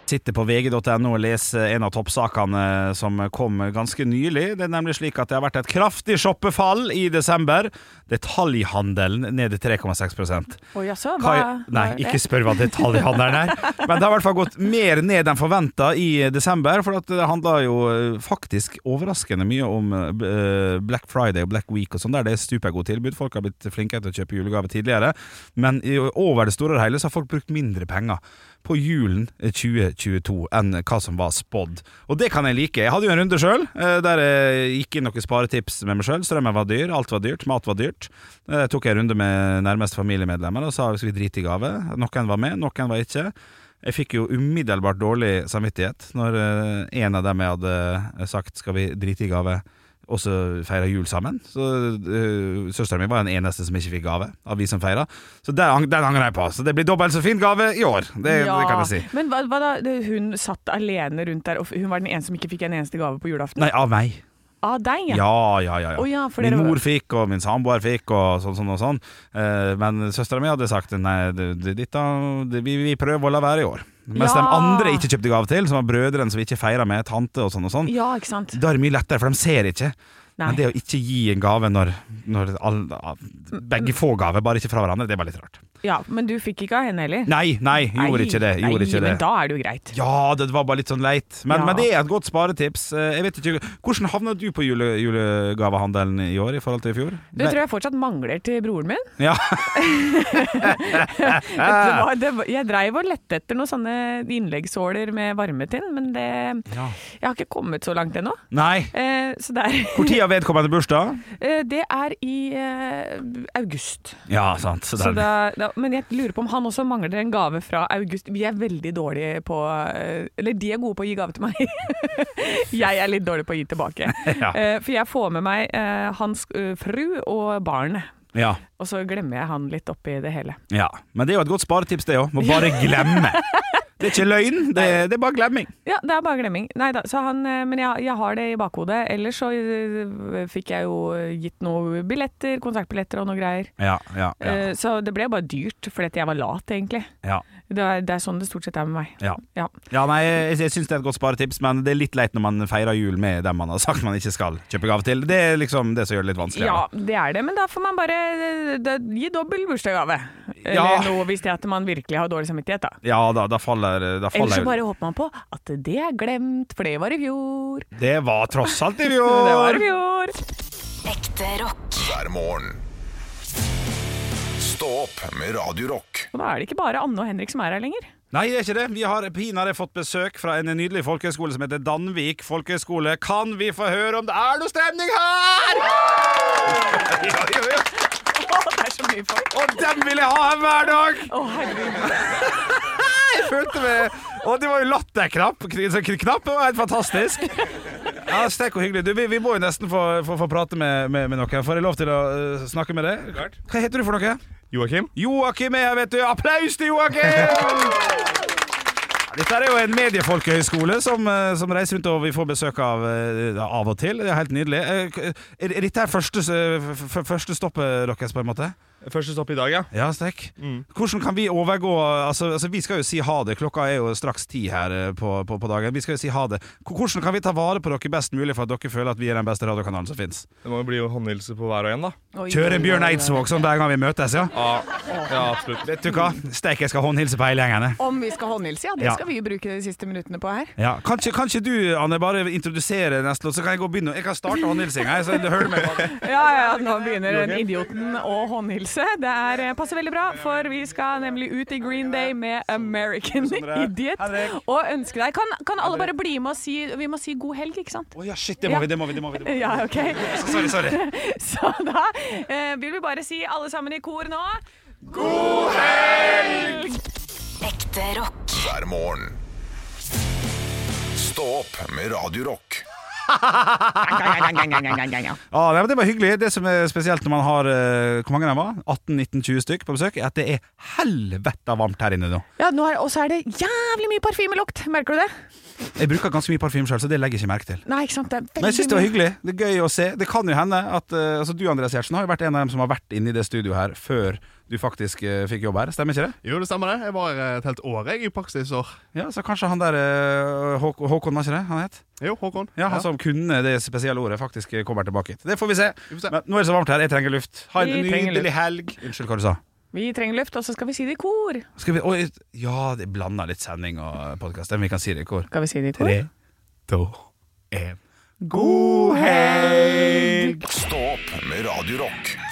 Speaker 3: Sitter på vg.no og leser en av toppsakene eh, som kom ganske nylig. Det er nemlig slik at det har vært et kraftig shoppefall i desember. Detaljhandelen nede 3,6
Speaker 2: Å jaså?
Speaker 3: Hva
Speaker 2: Hva
Speaker 3: er- Nei,
Speaker 2: hva er det?
Speaker 3: ikke spør hva detaljhandelen er. Men det har i hvert fall gått mer ned enn forventa i desember, for at det handla jo eh, faktisk overraskende mye om eh, Black Friday og Black Week og sånn, der det er supergode tilbud. Folk har blitt flinkere til å kjøpe julegave tidligere, men i, over det store og hele så har folk brukt mindre penger på julen 2022 enn hva som var spådd. Og det kan jeg like. Jeg hadde jo en runde sjøl, der jeg gikk inn noen sparetips med meg sjøl. Strømmen var dyr, alt var dyrt, mat var dyrt. Eh, Jeg tok en runde med nærmeste familiemedlemmer og sa vi skulle drite i gave. Noen var med, noen var ikke. Jeg fikk jo umiddelbart dårlig samvittighet når eh, en av dem jeg hadde eh, sagt skal vi drite i gave, også feira jul sammen. Så uh, Søstera mi var den eneste som ikke fikk gave av vi som feira. Så der, ang- den angrer jeg på. Så det blir dobbelt så fin gave i år. Det,
Speaker 2: Ja.
Speaker 3: det kan jeg si.
Speaker 2: Men hva, hva da? Det- Hun satt alene rundt der, og f- hun var den eneste som ikke fikk en eneste gave på julaften?
Speaker 3: Nei, av meg.
Speaker 2: Av deg, ja.
Speaker 3: Ja, ja, ja. ja.
Speaker 2: Å ja, for
Speaker 3: min
Speaker 2: dere var-
Speaker 3: mor fikk, og min samboer fikk, og sånn, sånn og sånn. Eh, men søstera mi hadde sagt nei, det- det- dette, det, vi, vi prøver å la være i år. Mens
Speaker 2: Ja.
Speaker 3: de andre ikke kjøpte gave til, som var brødrene som vi ikke feira med, tante og sånn og sånn.
Speaker 2: Ja, ikke sant?
Speaker 3: Da er det mye lettere, for de ser ikke.
Speaker 2: Nei.
Speaker 3: Men det å ikke gi en gave når, når alle, begge får gave, bare ikke fra hverandre, det er bare litt rart.
Speaker 2: Ja, Men du fikk ikke av henne heller?
Speaker 3: Nei, nei, gjorde
Speaker 2: Nei,
Speaker 3: ikke det. Gjorde
Speaker 2: nei,
Speaker 3: ikke det.
Speaker 2: Men da er det jo greit.
Speaker 3: Ja, det var bare litt sånn leit. Men,
Speaker 2: Ja.
Speaker 3: men det er et godt sparetips. Eh, Jeg vet ikke, Hvordan havna du på jule, julegavehandelen i år i forhold til i fjor?
Speaker 2: Du tror jeg fortsatt mangler til broren min?
Speaker 3: Ja.
Speaker 2: Det var, det var, jeg dreiv og lette etter noen sånne innleggssåler med varme til, men det
Speaker 3: Ja.
Speaker 2: Jeg har ikke kommet så langt ennå.
Speaker 3: Nei.
Speaker 2: Eh, så det er,
Speaker 3: Når har vedkommende bursdag?
Speaker 2: eh, det er i eh, august.
Speaker 3: Ja, sant. Så
Speaker 2: Så
Speaker 3: der.
Speaker 2: da, da, men jeg lurer på om han også mangler en gave fra august. Vi er veldig dårlige på eh, Eller de er gode på å gi gave til meg. jeg er litt dårlig på å gi tilbake.
Speaker 3: Ja.
Speaker 2: Eh, for jeg får med meg eh, hans eh, fru og barnet.
Speaker 3: Ja.
Speaker 2: Og så glemmer jeg han litt oppi det hele.
Speaker 3: ja. Men det er jo et godt sparetips, det òg. Må bare glemme. Det er ikke løgn, det, er- det er bare glemming.
Speaker 2: Ja, det er bare glemming. Nei da, så han eh, Men jeg, jeg har det i bakhodet. Ellers så eh, fikk jeg jo gitt noen billetter, konsertbilletter og noe greier.
Speaker 3: Ja, ja, ja.
Speaker 2: Eh, Så det ble bare dyrt, fordi at jeg var lat, egentlig.
Speaker 3: ja.
Speaker 2: Det er, det er sånn det stort sett er med meg.
Speaker 3: Ja.
Speaker 2: Ja.
Speaker 3: ja, nei, jeg, jeg syns det er et godt sparetips, men det er litt leit når man feirer jul med dem man har sagt man ikke skal kjøpe gave til. Det er liksom det som gjør det litt vanskeligere.
Speaker 2: Ja, det er det, men da får man bare eh, da, gi dobbel bursdagsgave.
Speaker 3: Ja.
Speaker 2: Eller noe hvis det er at man virkelig har dårlig samvittighet, da.
Speaker 3: Ja, da, da faller, da
Speaker 2: Eller
Speaker 3: faller
Speaker 2: så bare håper man på at det er glemt, for det var i fjor.
Speaker 3: Det var tross alt i
Speaker 2: Det var
Speaker 3: fjor!
Speaker 2: i fjor.
Speaker 7: Ekte rock.
Speaker 1: hver morgen. Stå opp med Radio Rock.
Speaker 2: Og da er det ikke bare Anne og Henrik som er her lenger.
Speaker 3: Nei, det er ikke det. Vi har pinadø fått besøk fra en nydelig folkehøyskole som heter Danvik folkehøyskole. Kan vi få høre om det er noe stemning her?! Ja, ja, ja.
Speaker 2: Å, det er så mye folk.
Speaker 3: Og dem vil jeg ha her hver dag!
Speaker 2: Å, herregud.
Speaker 3: Jeg følte meg Og det var jo latterknapp. Kn- sånn kn- Knapp det var helt fantastisk. Ja, Stek og hyggelig. Du, vi, vi må jo nesten få, få, få prate med, med, med noen. Får jeg lov til å eh, snakke med deg? Hva heter du for noe?
Speaker 5: Joakim?
Speaker 3: Joakim er her, vet du. Applaus til Joakim! Dette er jo en mediefolkehøyskole som, eh, som reiser rundt og vi får besøk av eh, av og til. Det er helt nydelig. Eh, k- Er er dette her første, s- f- f- første stoppet deres, på en måte?
Speaker 10: Første stopp i dag, ja.
Speaker 3: Ja, Stek. Hvordan kan vi overgå altså, altså, Vi skal jo si ha det. Klokka er jo straks ti her eh, på, på, på dagen. Vi skal jo si ha det. K- Hvordan kan vi ta vare på dere best mulig for at dere føler at vi er den beste radiokanalen som fins?
Speaker 10: Det må jo bli jo håndhilse på hver og en, da.
Speaker 2: Oi,
Speaker 3: Kjøre
Speaker 2: oi, oi,
Speaker 3: Bjørn
Speaker 2: oi.
Speaker 3: Eidsvåg sånn hver gang vi møtes, ja?
Speaker 10: Ja, ja absolutt.
Speaker 3: Vet du hva? Steik, jeg skal håndhilse på hele gjengen. jeg.
Speaker 2: Om vi skal håndhilse, ja. Det
Speaker 3: Ja.
Speaker 2: skal vi jo bruke de siste minuttene på her.
Speaker 3: Ja, kan ikke, kan ikke du, Anne, bare introdusere neste låt, så kan jeg gå og begynne? Jeg kan starte håndhilsinga. jeg, så du hører meg.
Speaker 2: Ja, ja, nå begynner den idioten å håndhilse. Det er, eh, passer veldig bra, for vi skal nemlig ut i Green Day med American
Speaker 3: Sånn
Speaker 2: Idiot. Og ønske deg Kan, kan alle bare bli med og si Vi må si god helg, ikke sant?
Speaker 3: Å ja, shit, det må vi, det må vi. det må vi, det må vi.
Speaker 2: Ja, OK.
Speaker 3: Sorry, sorry.
Speaker 2: Så da eh, vil vi bare si alle sammen i kor nå
Speaker 7: Ekte rock.
Speaker 1: hver morgen. Stå opp med Radio Rock.
Speaker 3: Ja, nei, men Det var hyggelig. Det som er spesielt når man har eh, hvor mange den var? 18-19-20 stykk på besøk, er at det er helveta varmt her inne nå.
Speaker 2: Ja, nå er, Og så er det jævlig mye parfymelukt. Merker du det?
Speaker 3: Jeg bruker ganske mye parfyme sjøl, så det legger jeg ikke merke til.
Speaker 2: Nei, ikke sant? Det er veldig
Speaker 3: Men jeg syns det var
Speaker 2: mye.
Speaker 3: hyggelig. Det er gøy å se. Det kan jo hende at eh, altså, Du Andreas Gjertsen har jo vært en av dem som har vært inne i det studioet her før du faktisk eh, fikk jobb her, stemmer ikke det?
Speaker 11: Jo, det stemmer det. Jeg var eh, et helt år jeg, i praksisår.
Speaker 3: Ja, Så kanskje han der eh, Håk- Håkon, var ikke det han het?
Speaker 11: Jo, Håkon.
Speaker 3: Ja, Han som kunne det spesielle ordet, faktisk eh, kommer tilbake hit. Det får vi se.
Speaker 11: Vi får se.
Speaker 3: Men nå er det så varmt her. Jeg trenger luft. Ha en
Speaker 2: Vi trenger
Speaker 3: nydelig helg. Unnskyld hva du sa.
Speaker 2: Vi trenger luft, og så skal vi si det i kor.
Speaker 3: Skal vi, oi, ja, det blander litt sending og podkast. Vi kan si det i kor.
Speaker 2: Skal vi si det i kor?
Speaker 3: Tre, to, én. God helg!
Speaker 1: Stå opp med Radio Rock.